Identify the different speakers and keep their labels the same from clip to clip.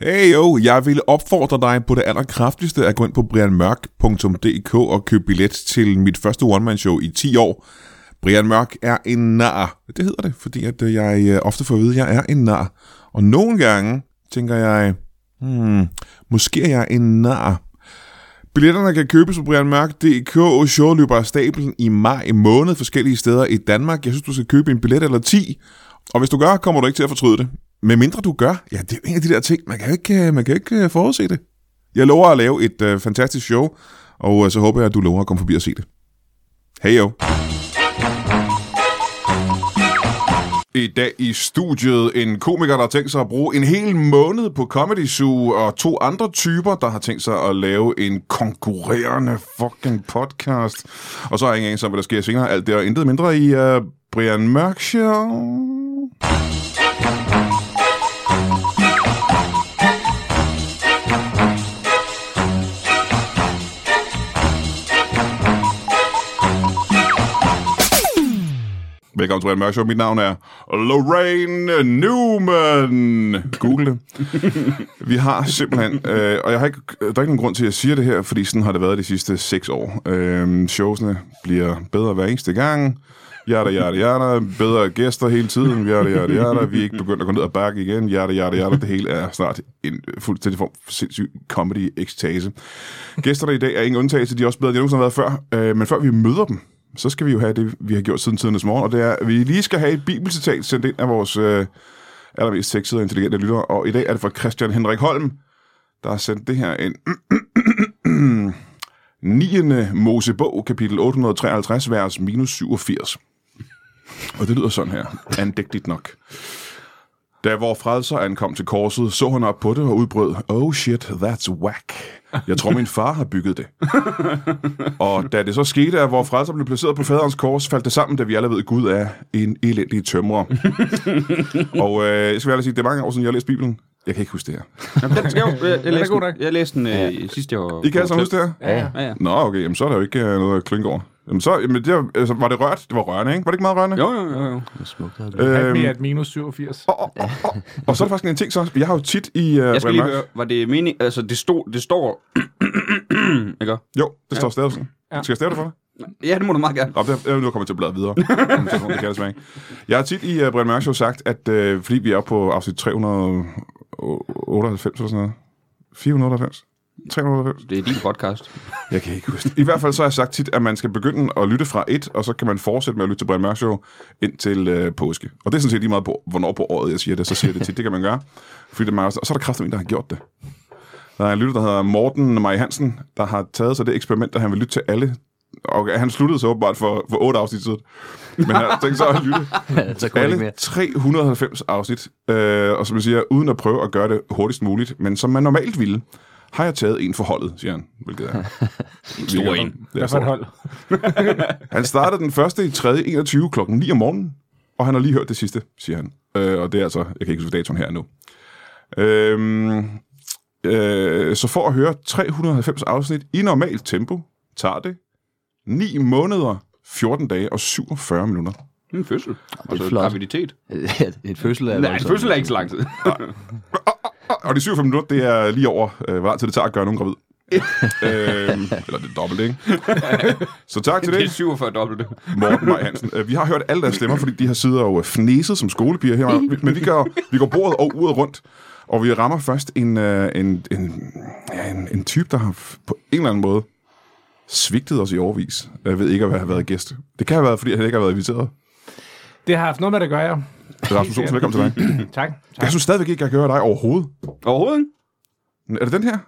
Speaker 1: Hey jo, jeg ville opfordre dig på det allerkraftigste at gå ind på brianmørk.dk og købe billet til mit første one-man-show i 10 år. Brian Mørk er en nar. Det hedder det, fordi at øh, jeg øh, ofte får at vide, at jeg er en nar. Og nogle gange tænker jeg, hmm, måske er jeg en nar. Billetterne kan købes på brianmørk.dk og showet løber af stablen i maj måned forskellige steder i Danmark. Jeg synes, du skal købe en billet eller 10, og hvis du gør, kommer du ikke til at fortryde det. Med mindre du gør, ja, det er jo en af de der ting, man kan jo ikke, øh, man kan jo ikke øh, forudse det. Jeg lover at lave et øh, fantastisk show, og øh, så håber jeg, at du lover at komme forbi og se det. Hej jo. I dag i studiet en komiker, der har tænkt sig at bruge en hel måned på Comedy Zoo, og to andre typer, der har tænkt sig at lave en konkurrerende fucking podcast. Og så har jeg ingen anelse om, hvad der sker senere. Alt det og intet mindre i uh, Brian Mørk Show. Velkommen til Brian Mørk Show. Mit navn er Lorraine Newman. Google det. Vi har simpelthen, øh, og jeg har ikke, der er ikke nogen grund til, at jeg siger det her, fordi sådan har det været de sidste seks år. Øh, showsene bliver bedre hver eneste gang. Jada, jada, jada. Bedre gæster hele tiden. Jada, jada, jada. Vi er ikke begyndt at gå ned og bakke igen. Jada, jada, jada. Det hele er snart en fuldstændig form for sindssyg comedy-ekstase. Gæsterne i dag er ingen undtagelse. De er også bedre, end de nogensinde har været før. Øh, men før vi møder dem, så skal vi jo have det, vi har gjort siden tidernes morgen, og det er, at vi lige skal have et bibelcitat sendt ind af vores øh, allermest sexede og intelligente lyttere, og i dag er det fra Christian Henrik Holm, der har sendt det her ind. 9. Mosebog, kapitel 853, vers minus 87. Og det lyder sådan her, andægtigt nok. Da vor frelser ankom til korset, så han op på det og udbrød, Oh shit, that's whack. Jeg tror, min far har bygget det. Og da det så skete, at vor frelser blev placeret på faderens kors, faldt det sammen, da vi alle ved, at Gud er en elendig tømrer. og øh, jeg skal være ærlig at sige, det er mange år siden, jeg har læst Bibelen. Jeg kan ikke huske det her.
Speaker 2: Jamen, den skal jo, jeg, jeg, læste
Speaker 3: god
Speaker 2: den, jeg læste den øh, sidste år.
Speaker 1: I kan altså huske det her?
Speaker 2: Ja, ja. ja.
Speaker 1: Nå, okay, jamen, så er der jo ikke øh, noget at klynke over. Jamen, så, jamen, det, var- altså, var det rørt? Det var rørende, ikke? Var det ikke meget rørende?
Speaker 2: Jo, jo, jo, jo.
Speaker 3: Øhm,
Speaker 1: Øhm,
Speaker 3: at minus 87.
Speaker 1: og, og, og, og, og, så er der faktisk en ting, så jeg har jo tit i... Uh,
Speaker 2: Jeg skal lige høre, var det mening... Altså, det, stod, det står... Ikke?
Speaker 1: Jo, det står stadig sådan.
Speaker 3: Ja.
Speaker 1: Skal jeg stave det for dig?
Speaker 2: Ja, det må du meget gerne.
Speaker 1: Nå, det er nu kommer til at bladre videre. Om telefonen, det kan jeg desværre ikke. Jeg har tit i uh, Brian Mørk Show sagt, at uh, fordi vi er oppe på afsnit 398 eller sådan noget. 498? 398?
Speaker 2: Det er din podcast.
Speaker 1: Jeg kan ikke huske det. I hvert fald så har jeg sagt tit, at man skal begynde at lytte fra et, og så kan man fortsætte med at lytte til Brian Mørk Show indtil øh, påske. Og det er sådan set lige meget på, hvornår på året jeg siger det, så siger jeg det tit, det kan man gøre. Fordi det er meget, og så er der kraftigt en, der har gjort det. Der er en lytter, der hedder Morten Maj Hansen, der har taget sig det eksperiment, at han vil lytte til alle. Og han sluttede så åbenbart for, for 8 afsnit siden. Men han har tænkt sig at lytte
Speaker 4: så kunne ikke
Speaker 1: alle
Speaker 4: mere.
Speaker 1: 390 afsnit, øh, og som jeg siger, uden at prøve at gøre det hurtigst muligt, men som man normalt ville, har jeg taget en for holdet, siger han, hvilket er... en
Speaker 2: stor en.
Speaker 1: Det er
Speaker 3: Hvad
Speaker 1: stor.
Speaker 3: for et hold?
Speaker 1: Han startede den første i 3. 21 klokken 9 om morgenen, og han har lige hørt det sidste, siger han. Øh, og det er altså, jeg kan ikke huske datoen her nu. Øhm, øh, så for at høre 390 afsnit i normalt tempo, tager det 9 måneder, 14 dage og 47 minutter.
Speaker 2: Det er en fødsel. Altså,
Speaker 4: flot.
Speaker 2: graviditet.
Speaker 4: et fødsel
Speaker 2: Nej,
Speaker 4: er
Speaker 2: en
Speaker 4: voldsomt.
Speaker 2: fødsel er altså- ikke så lang tid.
Speaker 1: Og de 47 minutter, det er lige over, øh, hvor lang tid det tager at gøre nogen gravid. øhm, eller det er dobbelt, ikke? så tak til
Speaker 2: Det er
Speaker 1: det,
Speaker 2: 47 dobbelt.
Speaker 1: Morten Maj Hansen. Øh, Vi har hørt alle deres stemmer, fordi de har siddet og øh, fnæset som skolepiger her. Men vi går, vi går bordet og uret rundt, og vi rammer først en, øh, en, en, ja, en, en type, der har f- på en eller anden måde svigtet os i overvis. Jeg ved ikke, at have været gæst. Det kan have været, fordi han ikke har været inviteret.
Speaker 3: Det har haft noget med det at gøre, ja.
Speaker 1: Rasmus Olsen, velkommen til dig.
Speaker 3: Tak. tak.
Speaker 1: Jeg synes stadigvæk ikke, jeg kan høre dig overhovedet.
Speaker 2: Overhovedet ikke.
Speaker 1: Er det den her?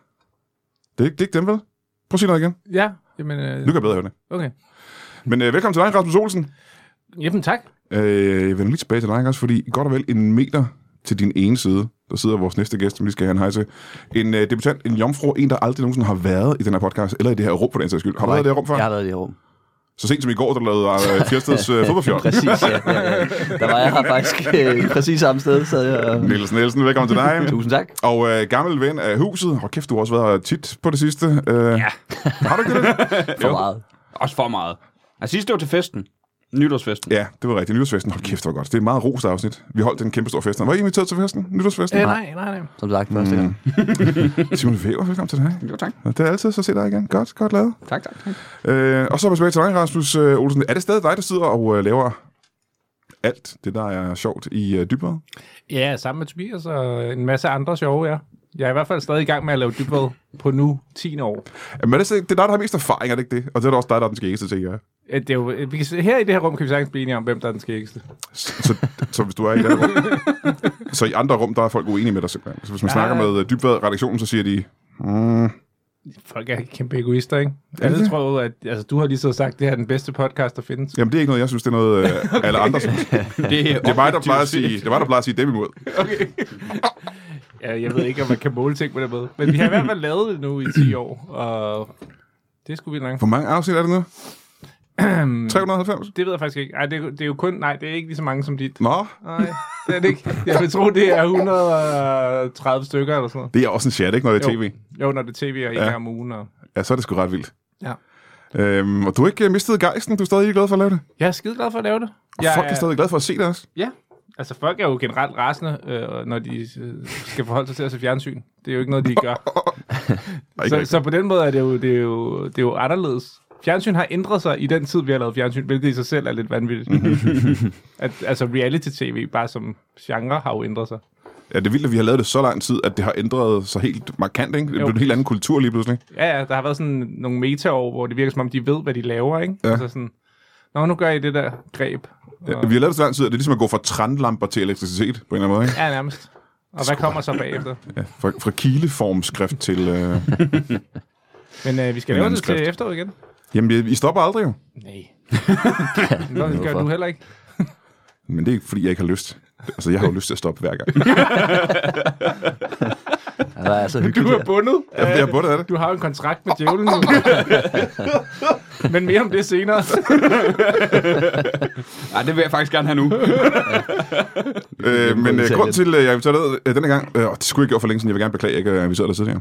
Speaker 1: Det er ikke, det er ikke den, vel? Prøv at sige noget igen.
Speaker 3: Ja, jamen, øh,
Speaker 1: Nu kan jeg bedre høre det.
Speaker 3: okay.
Speaker 1: Men øh, velkommen til dig, Rasmus Olsen.
Speaker 3: Jamen, tak.
Speaker 1: Øh, jeg vender lige tilbage til dig, ikke også, fordi godt og vel en meter til din ene side, der sidder vores næste gæst, som vi lige skal have en hej til. En øh, debutant, en jomfru, en, der aldrig nogensinde har været i den her podcast, eller i det her rum, for den sags skyld. Har du været i det her rum før?
Speaker 4: Jeg
Speaker 1: Ja.
Speaker 4: har været i det her rum.
Speaker 1: Så sent som i går, der lavede øh, Fjersteds øh, fodboldfjold.
Speaker 4: Præcis, ja. ja, ja. Der var jeg her faktisk øh, præcis samme sted, sad jeg. og-
Speaker 1: Niels Nielsen, velkommen til dig.
Speaker 4: Tusind tak.
Speaker 1: Og øh, gammel ven af huset. Hold kæft, du har også været her tit på det sidste. Øh, ja. Har du ikke det?
Speaker 4: For meget.
Speaker 2: Også for meget. Altså, sidst det var til festen. Nytårsfesten.
Speaker 1: Ja, det var rigtigt. Nytårsfesten, hold kæft, det var godt. Det er et meget rost afsnit. Vi holdt en kæmpe stor fest. Var I inviteret til festen? Nytårsfesten?
Speaker 3: Øh,
Speaker 1: Ja.
Speaker 3: nej, nej, nej.
Speaker 4: Som sagt, første gang.
Speaker 1: Simon Væver, velkommen til dig.
Speaker 2: Jo, tak.
Speaker 1: Det er altid så se dig igen. Godt, godt lavet.
Speaker 2: Tak, tak, tak.
Speaker 1: Øh, og så er vi tilbage til dig, Rasmus øh, Olsen. Er det stadig dig, der sidder og øh, laver alt det, der er sjovt i øh, dybere?
Speaker 3: Ja, sammen med Tobias og en masse andre sjove, ja. Jeg er i hvert fald stadig i gang med at lave dybvad på nu 10 år.
Speaker 1: Men er det, så- det er dig, der har mest erfaring, er det ikke det? Og det er da også dig, der er den skæggeste, tænker jeg.
Speaker 3: Øh, Det er jo, vi kan, se- her i det her rum kan vi sagtens blive enige om, hvem der er den skæggeste.
Speaker 1: Så, så, så hvis du er i det her rum. Så i andre rum, der er folk uenige med dig simpelthen. Så hvis man
Speaker 3: Ja.
Speaker 1: snakker med øh, dybvad-redaktionen, så siger de... Mm,
Speaker 3: Folk er kæmpe egoister, ikke? Alle
Speaker 1: det?
Speaker 3: tror jo, at altså, du har lige så sagt, at det her er den bedste podcast, der findes.
Speaker 1: jamen, det er ikke noget, jeg synes, det er noget, øh, alle andre synes.
Speaker 2: Det er,
Speaker 1: Det er mig, der plejer at sige, det var, der plejer at sige dem imod.
Speaker 3: Ja, jeg ved ikke, om man kan måle ting på den måde. Men vi har i hvert fald lavet det nu i 10 år, og det skulle vi langt.
Speaker 1: Hvor mange afsnit er det nu? 390?
Speaker 3: Det ved jeg faktisk ikke. Ej, det, er- det er jo kun... Nej, det er ikke lige så mange som dit.
Speaker 1: Nå,
Speaker 3: Nej, det er det ikke. Jeg vil tro, det er 130 stykker eller sådan noget.
Speaker 1: det er også en chat, ikke, når det er tv?
Speaker 3: Jo, når det er tv og en
Speaker 1: Ja.
Speaker 3: gang om ugen. Og...
Speaker 1: Ja, så er det sgu ret vildt.
Speaker 3: Ja.
Speaker 1: Øhm, og du har ikke øh, mistet gejsten, du er stadig glad for at lave det.
Speaker 3: Jeg er skide glad for at lave det.
Speaker 1: Og
Speaker 3: Jeg
Speaker 1: folk er stadig glad for at se det også.
Speaker 3: Ja, altså folk er jo generelt rasende, øh, når de øh, skal forholde sig til at se fjernsyn. Det er jo ikke noget, de gør.
Speaker 1: Ej, ikke
Speaker 3: Så,
Speaker 1: rigtigt.
Speaker 3: så på den måde er det, jo, det, er jo, det er jo anderledes. Fjernsyn har ændret sig i den tid, vi har lavet fjernsyn, hvilket i sig selv er lidt vanvittigt. at, altså reality-tv, bare som genre, har jo ændret sig.
Speaker 1: Ja, det er vildt, at vi har lavet det så lang tid, at det har ændret sig helt markant, ikke? Det
Speaker 3: Jo.
Speaker 1: blev en helt anden kultur lige pludselig.
Speaker 3: Ja, ja, der har været sådan nogle metaår, hvor det virker som om, de ved, hvad de laver, ikke? Ja. Altså sådan, Nå, nu gør I det der greb. Og,
Speaker 1: Ja. Vi har lavet det så lang tid, at det er ligesom at gå fra trænlamper til elektricitet, på en eller anden måde, ikke?
Speaker 3: Ja, nærmest. Og hvad kommer så bagefter?
Speaker 1: Ja, fra, fra kileformskrift til... Øh...
Speaker 3: Men øh, vi skal
Speaker 1: En
Speaker 3: lave
Speaker 1: anden
Speaker 3: det til
Speaker 1: skrift.
Speaker 3: efteråret igen.
Speaker 1: Jamen, I- I stopper aldrig jo.
Speaker 3: Nej. Nå, det gør
Speaker 4: Hvorfor?
Speaker 3: du heller ikke.
Speaker 1: Men det er ikke, fordi jeg ikke har lyst. Altså, jeg har jo lyst til at stoppe hver gang.
Speaker 4: Ja, det er altså hyggeligt.
Speaker 3: Du er bundet.
Speaker 1: Jeg bliver bundet af det.
Speaker 3: Du har jo en kontrakt med djævlen nu. Men mere om det senere.
Speaker 2: Nej, det vil jeg faktisk gerne have nu.
Speaker 1: Øh, men øh,
Speaker 4: Italien.
Speaker 1: grund til, at jeg inviterede dig øh, denne gang... Øh, åh, det skulle jeg gøre for længe siden. Jeg vil gerne beklage, at jeg ikke har inviteret dig tidligere.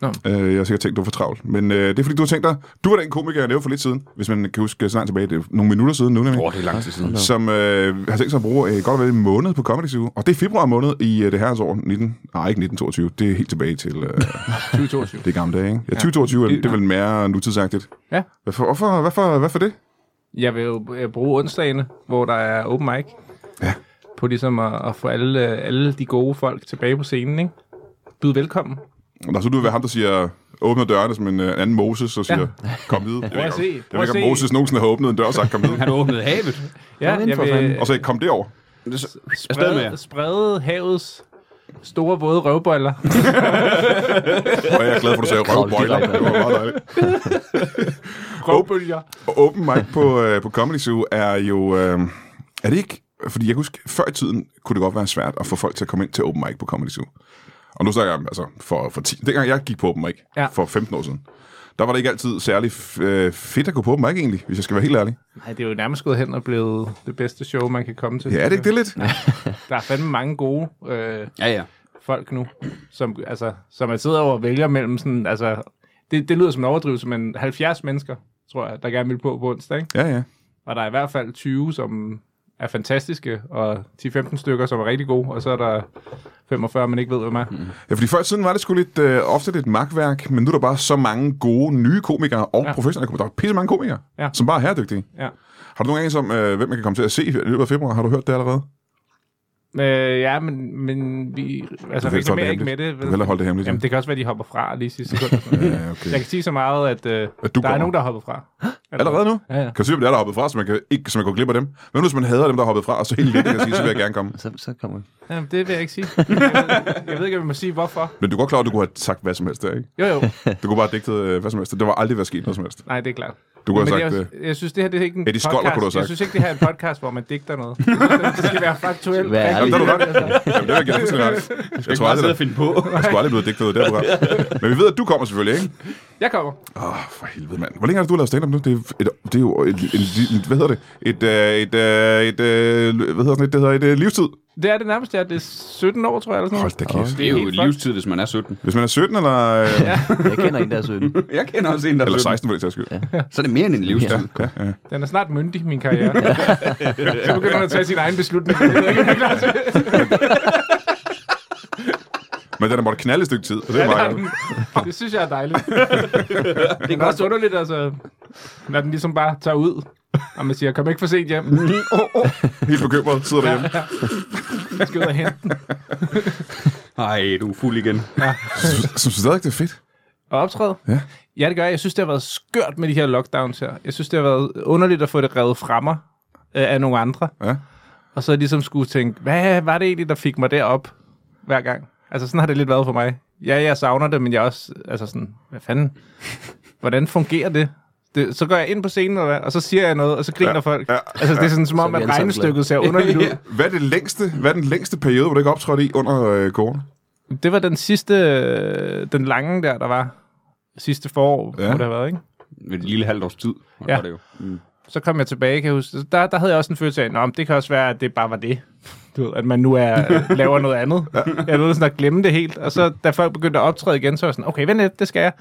Speaker 3: Nå.
Speaker 1: Øh, jeg har sikkert tænkt, du var for travlt. Men øh, det er fordi, du har tænkt dig... Du var den komiker, jeg lavede for lidt siden. Hvis man kan huske så langt tilbage. Det er nogle minutter siden nu, nemlig.
Speaker 2: det er lang tid siden.
Speaker 1: som øh, har tænkt sig at bruge øh, godt og vel en måned på Comedy Zoo. Og det er februar måned i øh, det her år, 19, nej ikke 1922, det er helt tilbage til øh,
Speaker 3: 2022.
Speaker 1: det gamle dage, ikke? Ja, 2022 er, det er vel mere nutidsagtigt.
Speaker 3: Ja.
Speaker 1: Hvorfor, hvorfor, hvorfor, hvorfor det?
Speaker 3: Jeg vil jo øh, bruge onsdagene, hvor der er open mic.
Speaker 1: Ja.
Speaker 3: På ligesom at, at få alle, øh, alle de gode folk tilbage på scenen, ikke? Byd velkommen.
Speaker 1: Nå, så du vil være ham, der siger, åbner dørene som en øh, anden Moses og siger, kom vid. Jeg ved
Speaker 3: at
Speaker 1: ikke, om-
Speaker 3: se,
Speaker 1: Jeg
Speaker 3: prøv
Speaker 1: ved
Speaker 3: at
Speaker 1: ikke, om
Speaker 3: se.
Speaker 1: Moses nogensinde har åbnet en dør og sagt, kom vid.
Speaker 2: Han åbnede havet.
Speaker 3: Ja, øh,
Speaker 4: Kom ind
Speaker 3: jeg
Speaker 4: for fanden.
Speaker 3: vil
Speaker 1: Og så kom derover.
Speaker 2: Afsted med
Speaker 3: sprede,
Speaker 2: jer.
Speaker 3: sprede havets store våde røvboller.
Speaker 1: Og jeg er glad for, at du sagde røvbøjler. Det var meget dejligt.
Speaker 3: Røvbølger.
Speaker 1: Og open mic på, øh, på Comedy Zoo er jo... Øh, er det ikke... Fordi jeg husker, før i tiden kunne det godt være svært at få folk til at komme ind til open mic på Comedy Zoo. Og nu snakker jeg om, altså, for, for 10, dengang jeg gik på open mic,
Speaker 3: Ja.
Speaker 1: ja. for 15 år siden, der var det ikke altid særlig f- øh, fedt at gå på open mic egentlig, hvis jeg skal være helt ærlig.
Speaker 3: Nej, det er jo nærmest gået hen og blevet det bedste show, man kan komme til.
Speaker 1: Ja, er det ikke det lidt?
Speaker 3: Der er fandme mange gode øh,
Speaker 2: Ja, ja.
Speaker 3: folk nu, som, altså, som er sidder over og vælger mellem sådan, altså, det, det lyder som en overdrivelse, men 70 mennesker, tror jeg, der gerne vil på på onsdag, ikke?
Speaker 1: Ja, ja.
Speaker 3: Og der er i hvert fald 20, som er fantastiske, og 10-15 stykker, som er rigtig gode, og så er der 45, man ikke ved, hvem er. Mm.
Speaker 1: Ja, fordi før i tiden var det sgu lidt, øh, ofte lidt magtværk, men nu er der bare så mange gode nye komikere og
Speaker 3: Ja.
Speaker 1: ja. professionelle komikere. Der er pisse mange komikere,
Speaker 3: Ja.
Speaker 1: ja. som bare er herredygtige.
Speaker 3: Ja.
Speaker 1: Har du nogen anelse om, øh, hvem man kan komme til at se i løbet af februar? Har du hørt det allerede?
Speaker 3: Altså, Øh, ja, men, men vi altså,
Speaker 1: Du vil ikke holde
Speaker 3: reklamerer
Speaker 1: det
Speaker 3: ikke med det.
Speaker 1: Du vil hellere holde det hemmeligt.
Speaker 3: Jamen, det kan også være, de hopper fra lige i sidste sekund. og sådan noget.
Speaker 1: Ja, okay.
Speaker 3: Jeg kan sige så meget, at øh, der er
Speaker 1: kommer.
Speaker 3: nogen, der har hoppet fra.
Speaker 1: Allerede nu?
Speaker 3: Ja, ja.
Speaker 1: Kan du sige, hvem det er, der er hoppet fra, så man kan, ikke, så man går glip af dem? Men hvis man hader dem, der er hoppet fra, og så helt lidt kan sige, så vil jeg gerne komme.
Speaker 4: Så, så kommer vi.
Speaker 3: Jamen, det vil jeg ikke sige. Jeg ved, jeg ved ikke, om jeg må sige, hvorfor.
Speaker 1: Men du er godt klar, at du kunne have sagt hvad som helst der, ikke?
Speaker 3: Jo, jo.
Speaker 1: Du kunne bare have digtet øh, hvad som helst. Det var aldrig været sket noget som helst.
Speaker 3: Nej, det er klart.
Speaker 1: Du kunne have
Speaker 3: Men
Speaker 1: sagt,
Speaker 3: jeg,
Speaker 1: øh,
Speaker 3: jeg synes, det her det er ikke en
Speaker 1: Eddie Skoller,
Speaker 3: podcast.
Speaker 1: kunne du have sagt.
Speaker 3: Jeg synes ikke, det her er en podcast, hvor man digter noget. Jeg synes, det skal være faktuelt.
Speaker 4: Vær
Speaker 1: Jamen,
Speaker 4: ærlig.
Speaker 1: det er du ret. Jamen, det er jeg gerne fuldstændig ret. Jeg tror aldrig,
Speaker 2: Bare sidde
Speaker 1: der,
Speaker 2: og finde på.
Speaker 1: jeg skulle aldrig blive digtet ud der, du har. Men vi ved, at du kommer selvfølgelig, ikke?
Speaker 3: Jeg kommer.
Speaker 1: Åh, oh, for helvede, mand. Hvor længe har du lavet stand-up nu? Det er, et, det er jo et, et, et, hvad hedder det? Et, øh, et, øh, et, øh, hvad hedder sådan et, det hedder et øh, livstid.
Speaker 3: Det er det nærmest, jeg er. Det er 17 år, tror jeg, eller sådan
Speaker 1: Hold
Speaker 3: noget.
Speaker 1: da kæft.
Speaker 2: Det er jo
Speaker 3: Helt fucked.
Speaker 2: livstid, hvis man er 17.
Speaker 1: Hvis man er 17 eller, øh,
Speaker 4: Jeg kender en, der er 17.
Speaker 2: Jeg kender også en, der er
Speaker 1: eller
Speaker 2: 17.
Speaker 1: 16, for det sags skyld. Ja.
Speaker 2: Så er det mere end en livstid.
Speaker 1: Ja, ja.
Speaker 3: Den er snart myndig, min karriere. så begynder man at tage sin egen beslutning. Jeg ved ikke, om jeg er klar til det.
Speaker 1: Men den har måttet knalde et stykke tid, og det er
Speaker 3: Ja,
Speaker 1: meget
Speaker 3: den-
Speaker 1: godt.
Speaker 3: det synes jeg er dejligt. det er også underligt, altså, når den ligesom bare tager ud, og man siger, kom ikke for sent hjem,
Speaker 1: Helt bekymret, sidder derhjemme.
Speaker 3: jeg skal ud og hente den.
Speaker 2: Ej, du er fuld igen.
Speaker 1: Jeg synes stadig, det er fedt.
Speaker 3: Og optræde?
Speaker 1: Ja.
Speaker 3: ja, det gør jeg. Jeg synes, det har været skørt med de her lockdowns her. Jeg synes, det har været underligt at få det revet fra mig øh, af nogle andre.
Speaker 1: Ja.
Speaker 3: Og så ligesom skulle tænke, hvad var det egentlig, der fik mig derop hver gang? Altså sådan har det lidt været for mig. Ja, jeg savner det, men jeg er også, altså sådan, hvad fanden? Hvordan fungerer det? det så går jeg ind på scenen, og, og så siger jeg noget, og så griner ja, folk.
Speaker 1: ja,
Speaker 3: Ja, altså det er sådan som om,
Speaker 4: vi
Speaker 3: at
Speaker 4: alle sammen
Speaker 3: regnestykket ser underligt ud.
Speaker 1: Hvad er, det længste, hvad er den længste periode, hvor du ikke optrådte i under øh, corona?
Speaker 3: Det var den sidste, øh, den lange der, der var sidste forår,
Speaker 1: Ja.
Speaker 3: ja. må det have været, ikke?
Speaker 2: Ved et lille halvt års tid. Og
Speaker 3: Ja.
Speaker 2: var Det jo.
Speaker 3: så kom jeg tilbage, kan jeg huske. Der, der havde jeg også en følelse af, Nå, men det kan også være, at det bare var det. Du ved, at man nu er, laver noget andet. Jeg nåede sådan at glemme det helt. Og så, da folk begyndte at optræde igen, så var jeg sådan, okay, vent lidt, det skal jeg.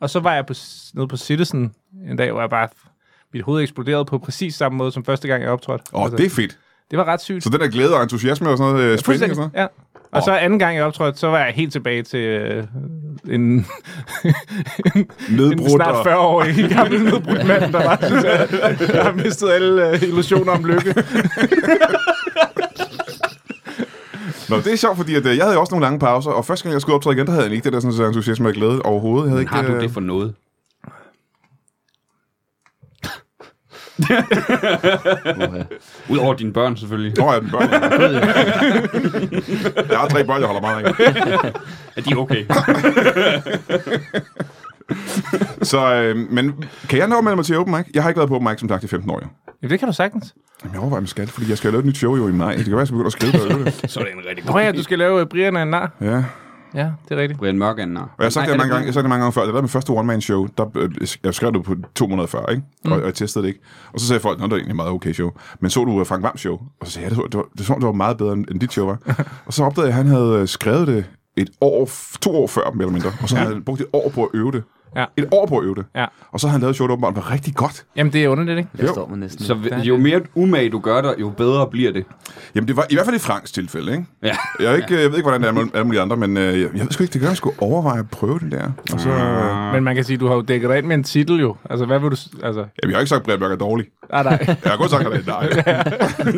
Speaker 3: Og så var jeg på, s- nede på Citizen en dag, hvor jeg bare, mit hoved eksploderede på præcis samme måde, som første gang, jeg optrådte. Altså,
Speaker 1: Åh, det er fedt.
Speaker 3: det var ret sygt.
Speaker 1: Så den der glæde og entusiasme og sådan noget, øh, spænding og sådan noget.
Speaker 3: Ja. Og så anden gang, jeg optrådte, så var jeg helt tilbage til øh, en, en, en
Speaker 1: Nedbrudt
Speaker 3: snart
Speaker 1: og-
Speaker 3: 40-årig gammel nedbrudt mand, der var jeg har mistet alle øh, illusioner om lykke.
Speaker 1: Nå, det er sjovt, fordi at, øh, jeg havde jo også nogle lange pauser, og første gang, jeg skulle optræde igen, der havde jeg ikke det der sådan, så entusiasme og glæde overhovedet. Jeg havde ikke,
Speaker 2: Har du
Speaker 1: øh,
Speaker 2: det for noget?
Speaker 4: Uha.
Speaker 2: Udover dine børn, selvfølgelig.
Speaker 1: Nå, jeg er den børn. jeg har tre børn, jeg holder meget af.
Speaker 2: Er de okay?
Speaker 1: Så, øh, men kan jeg nå at melde mig til open mic? Jeg har ikke været på open mic, som sagt, i 15 år. Jo.
Speaker 3: Jamen, det kan du sagtens.
Speaker 1: Jamen, jeg overvejer, om jeg skal, fordi jeg skal have lavet et nyt show jo i maj. Det kan være, at jeg begynder at skrive på det.
Speaker 2: Så er det en rigtig
Speaker 3: Nå ja, du skal lave øh, Brian og en nar.
Speaker 1: Ja.
Speaker 3: Ja, det er rigtigt.
Speaker 2: Brian Mørk er en nar.
Speaker 1: Og jeg har sagt,
Speaker 2: Nej,
Speaker 1: det, mange
Speaker 2: er
Speaker 1: gange, jeg har sagt det mange gange før. Det der med første one-man-show, der, øh, jeg skrev det på 240, ikke? Og, og, jeg testede det ikke. Og så sagde folk, at det var egentlig et meget okay show. Men så du øh, Frank Vams show? Og så sagde jeg, ja, det, så, det, var, det, så, det var meget bedre, end, end dit show var. og så opdagede jeg, at han havde øh, skrevet det et år, f- to år før, mere eller mindre. Og så havde han brugt et år på at øve det.
Speaker 3: Ja.
Speaker 1: Et år på at øve det.
Speaker 3: Ja.
Speaker 1: Og så havde han lavet showet åbenbart, var rigtig godt.
Speaker 3: Jamen, det er underligt, ikke?
Speaker 4: Jeg
Speaker 1: Jo.
Speaker 4: står med næsten.
Speaker 2: Så vi- jo mere umage du gør dig, jo bedre bliver det.
Speaker 1: Jamen, det var i hvert fald i Franks tilfælde, ikke?
Speaker 2: Ja.
Speaker 1: Jeg, er ikke, øh, jeg ved ikke, hvordan det er med alle mulige andre, men øh, jeg, jeg ved sgu ikke, det gør, at jeg skulle overveje at prøve det der. Og så, øh, jamen,
Speaker 3: Men man kan sige, du har jo dækket dig ind med en titel jo. Altså, hvad vil du... s- Altså, ah,
Speaker 1: jeg har ikke sagt, at Brian Mørk er dårlig.
Speaker 3: nej, nej.
Speaker 1: Jeg har godt sagt, at han er nej.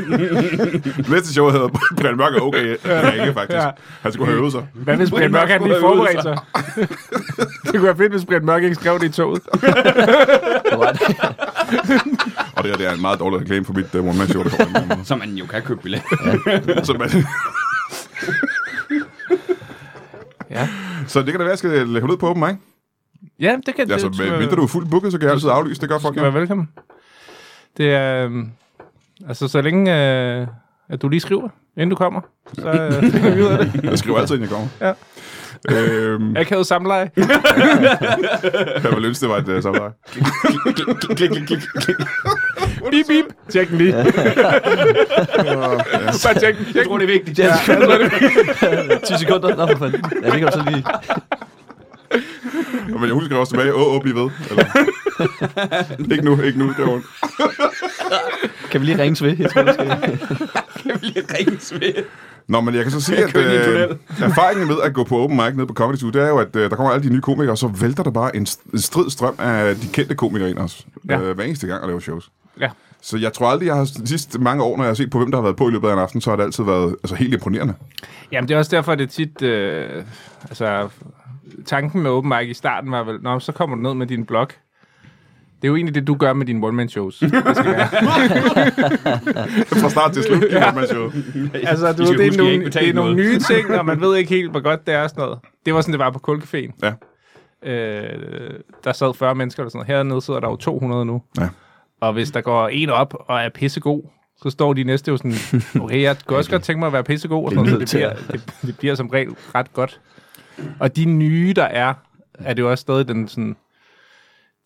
Speaker 1: det næste show hedder Brian Mørk er okay. Det er ikke, faktisk.
Speaker 3: Ja.
Speaker 1: Han skulle have øvet sig.
Speaker 3: Hvad hvis Brian Mørk, han lige forberedte sig? det kunne være fedt, hvis Brian Mørk ikke skrev det i toget.
Speaker 4: Du har ret.
Speaker 1: Og det her det er en meget dårlig reklame for mit uh, one-man-show, der kommer. i morgen.
Speaker 2: Så man jo kan købe billet.
Speaker 1: så, man,
Speaker 3: Ja,
Speaker 1: så det kan da være, at jeg skal øh, lægge ud på åben, ikke?
Speaker 3: ja det kan
Speaker 1: Ja, så
Speaker 3: det,
Speaker 1: mindre du er fuldt booket, så kan jeg altid aflyse. Det gør folk.
Speaker 3: Du er
Speaker 1: jo.
Speaker 3: velkommen. Det er... øhm, Altså, så længe øh, at du lige skriver, inden du kommer, så øh, finder vi ud af det.
Speaker 1: Jeg skriver altid, inden jeg kommer.
Speaker 3: Ja.
Speaker 1: Øhm,
Speaker 3: Akavet samleje.
Speaker 1: jeg ville ønske, det var et uh, samleje.
Speaker 2: klik, klik, klik, klik, klik.
Speaker 3: Bip, bip. Tjek den lige. Bare tjek den. altså,
Speaker 2: Jeg tror, det er vigtigt.
Speaker 4: Ja, 10 sekunder. Nå, for fanden. Ja, det kan du så lige.
Speaker 1: Men jeg husker også tilbage, åh, åh, bliv ved. Eller, ikke nu, ikke nu, det var ondt.
Speaker 4: Kan vi lige ringe ved? Jeg tror, vi skal.
Speaker 2: Jeg bliver rigtig sved.
Speaker 1: Nå, men jeg kan så sige, at
Speaker 2: kører ind i en
Speaker 1: øh,
Speaker 2: tunnel.
Speaker 1: erfaringen med at gå på open mic nede på Comedy Zoo, det er jo, at øh, der kommer alle de nye komikere, og så vælter der bare en, st- en strid strøm af de kendte komikere ind også. Ja.
Speaker 3: Ja.
Speaker 1: Øh, hver eneste gang, at lave shows.
Speaker 3: Ja.
Speaker 1: Så jeg tror aldrig, jeg har de sidste mange år, når jeg har set på, hvem der har været på i løbet af en aften, så har det altid været altså, helt imponerende.
Speaker 3: Jamen, det er også derfor, det er tit... Øh, altså, tanken med open mic i starten var vel, Nå, så kommer du ned med din blog. Det er jo egentlig det, du gør med dine one-man-shows. Det skal være.
Speaker 1: Fra start til slut. ja. man show.
Speaker 3: altså,
Speaker 2: I
Speaker 3: du,
Speaker 2: skal
Speaker 3: ved,
Speaker 2: huske,
Speaker 3: det, er
Speaker 2: I har
Speaker 3: nogle,
Speaker 2: ikke betalt
Speaker 3: det er nogle
Speaker 2: noget.
Speaker 3: nye ting, og man ved ikke helt, hvor godt det er og sådan noget. Det var sådan, det var på Kulcaféen.
Speaker 1: Ja.
Speaker 3: Øh, der sad 40 mennesker eller sådan noget. Hernede sidder der jo 200 nu.
Speaker 1: Ja.
Speaker 3: Og hvis der går en op og er pissegod, så står de næste jo sådan, okay, jeg kunne også godt tænke mig at være pissegod, og sådan noget, så
Speaker 4: Det er
Speaker 3: det bliver, det, det bliver som regel ret godt. Og de nye, der er, er det jo også stadig den sådan,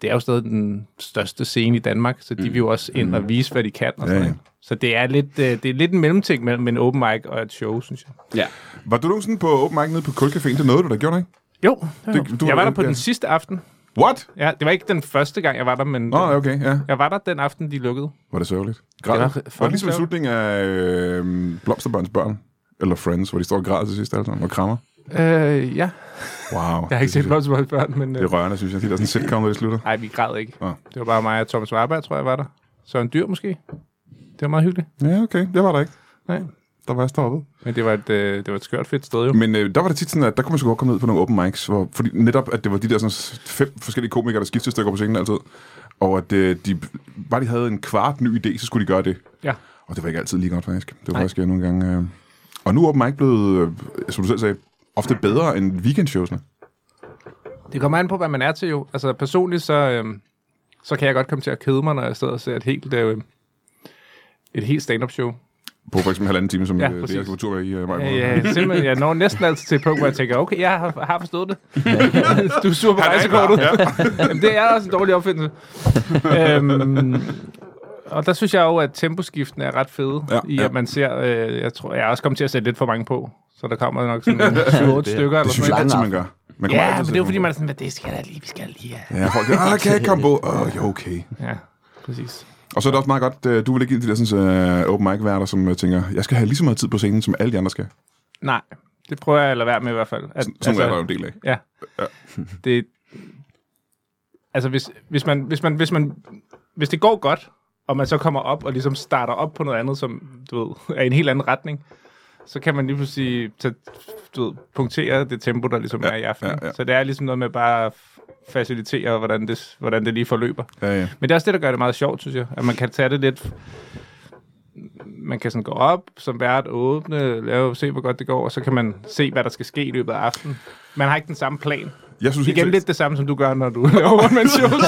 Speaker 3: det er jo stadig den største scene i Danmark, så de vil jo også ind og vise, hvad de kan. Og
Speaker 1: Mm. Ja,
Speaker 3: sådan
Speaker 1: ja.
Speaker 3: noget. Så det er, lidt, øh, det er lidt en mellemting mellem en open mic og et show, synes jeg.
Speaker 2: Ja.
Speaker 1: Var du nogensinde på open mic nede på Kulcaféen? Det nåede du da, gjorde du ikke?
Speaker 3: Jo, det,
Speaker 1: Det- du-
Speaker 3: jeg var der på
Speaker 1: ja.
Speaker 3: den sidste aften.
Speaker 1: What?
Speaker 3: Ja, det var ikke den første gang, jeg var der, men øh,
Speaker 1: Nå, oh, okay, ja.
Speaker 3: jeg var der den aften, de lukkede.
Speaker 1: Var det sørgeligt?
Speaker 3: var
Speaker 1: Græd. Det var,
Speaker 3: fucking
Speaker 1: var det ligesom i
Speaker 3: sørgeligt.
Speaker 1: slutningen af øh, Blomsterbørns børn? Eller Friends, hvor de står og græder til sidst alle sammen og krammer?
Speaker 3: Øh, ja,
Speaker 1: Wow.
Speaker 3: jeg har ikke set
Speaker 1: det,
Speaker 3: Blomsterbold børn, men...
Speaker 1: det
Speaker 3: Øh,
Speaker 1: er rørende, synes jeg. De der sådan sitcom, når de slutter.
Speaker 3: nej, vi græd ikke.
Speaker 1: Nå.
Speaker 3: Det var bare mig og Thomas Warberg, tror jeg, var der. Så en dyr måske. Det var meget hyggeligt.
Speaker 1: Ja, okay. Jeg var der ikke.
Speaker 3: Nej.
Speaker 1: Der var jeg stoppet.
Speaker 3: Men det var et, øh, det var et skørt fedt sted jo.
Speaker 1: Men øh, der var det tit sådan, at der kunne man sgu godt komme ned på nogle open mics, hvor, fordi netop, at det var de der sådan, fem forskellige komikere, der skiftede stykker på scenen altid, og at øh, de, bare de havde en kvart ny idé, så skulle de gøre det.
Speaker 3: Ja.
Speaker 1: Og det var ikke altid lige godt, faktisk. Det var Nej. faktisk øh, nogle gange... Øh... Og nu er open mic blevet, øh, som du selv sagde, ofte bedre end weekendshowsene.
Speaker 3: Det kommer an på, hvad man er til jo. Altså personligt, så, øh, så kan jeg godt komme til at kede mig, når jeg sidder og ser et helt, øh, et helt stand-up show.
Speaker 1: På for eksempel halvanden time, som
Speaker 3: Ja,
Speaker 1: ja, det,
Speaker 3: præcis.
Speaker 1: jeg skulle på tur med i øh, maj.
Speaker 3: Ja,
Speaker 1: måned.
Speaker 3: ja, simpelthen, jeg når næsten altid til et punkt, hvor jeg tænker, okay, jeg har, har forstået det. du er sur på rejsekortet. Jamen, det er også en dårlig opfindelse. øhm, og der synes jeg jo, at temposkiften er ret fede,
Speaker 1: Ja,
Speaker 3: ja, i
Speaker 1: ja.
Speaker 3: at man ser, øh, jeg tror, jeg er også kommet til at sætte lidt for mange på, så der kommer nok sådan 7-8 stykker.
Speaker 1: Det
Speaker 3: Eller
Speaker 1: synes jeg
Speaker 3: sådan noget.
Speaker 1: altid, man gør. Man kommer
Speaker 3: Ja,
Speaker 1: altid
Speaker 3: men det
Speaker 1: til
Speaker 3: er jo
Speaker 1: at
Speaker 3: fordi,
Speaker 1: finde
Speaker 3: man er sådan, "Men det skal der lige, vi skal lige
Speaker 1: på
Speaker 3: have.
Speaker 1: det. Ja, folk ah, kan jeg ikke komme på? Åh, oh, jo, okay.
Speaker 3: Ja, præcis.
Speaker 1: Og så er det også meget godt, øh, du vil ikke ind i de der sådan, øh, open mic-værter, som øh, tænker, jeg skal have lige så meget tid på scenen, som alle de andre skal.
Speaker 3: Nej, det prøver jeg at lade være med i hvert fald. At,
Speaker 1: Sådan altså, er der jo en del af.
Speaker 3: Ja. Det, altså, hvis, hvis, man, hvis, man, hvis, man, hvis det går godt, og man så kommer op og ligesom starter op på noget andet, som du ved, er i en helt anden retning, så kan man lige pludselig tage, du ved, punktere det tempo, der ligesom ja, er i aften.
Speaker 1: ja,
Speaker 3: Ja,
Speaker 1: ja.
Speaker 3: ja. Så det er ligesom noget med bare at f- facilitere, hvordan det, hvordan det lige forløber.
Speaker 1: Ja, ja.
Speaker 3: Men det er også det, der gør det meget sjovt, synes jeg. At man kan tage det lidt... Man kan sådan gå op som vært, åbne, lave, se, hvor godt det går, og så kan man se, hvad der skal ske i løbet af aftenen. Man har ikke den samme plan.
Speaker 1: Jeg synes, helt
Speaker 3: Igen
Speaker 1: seriøst,
Speaker 3: lidt det samme, som du gør, når du laver one shows.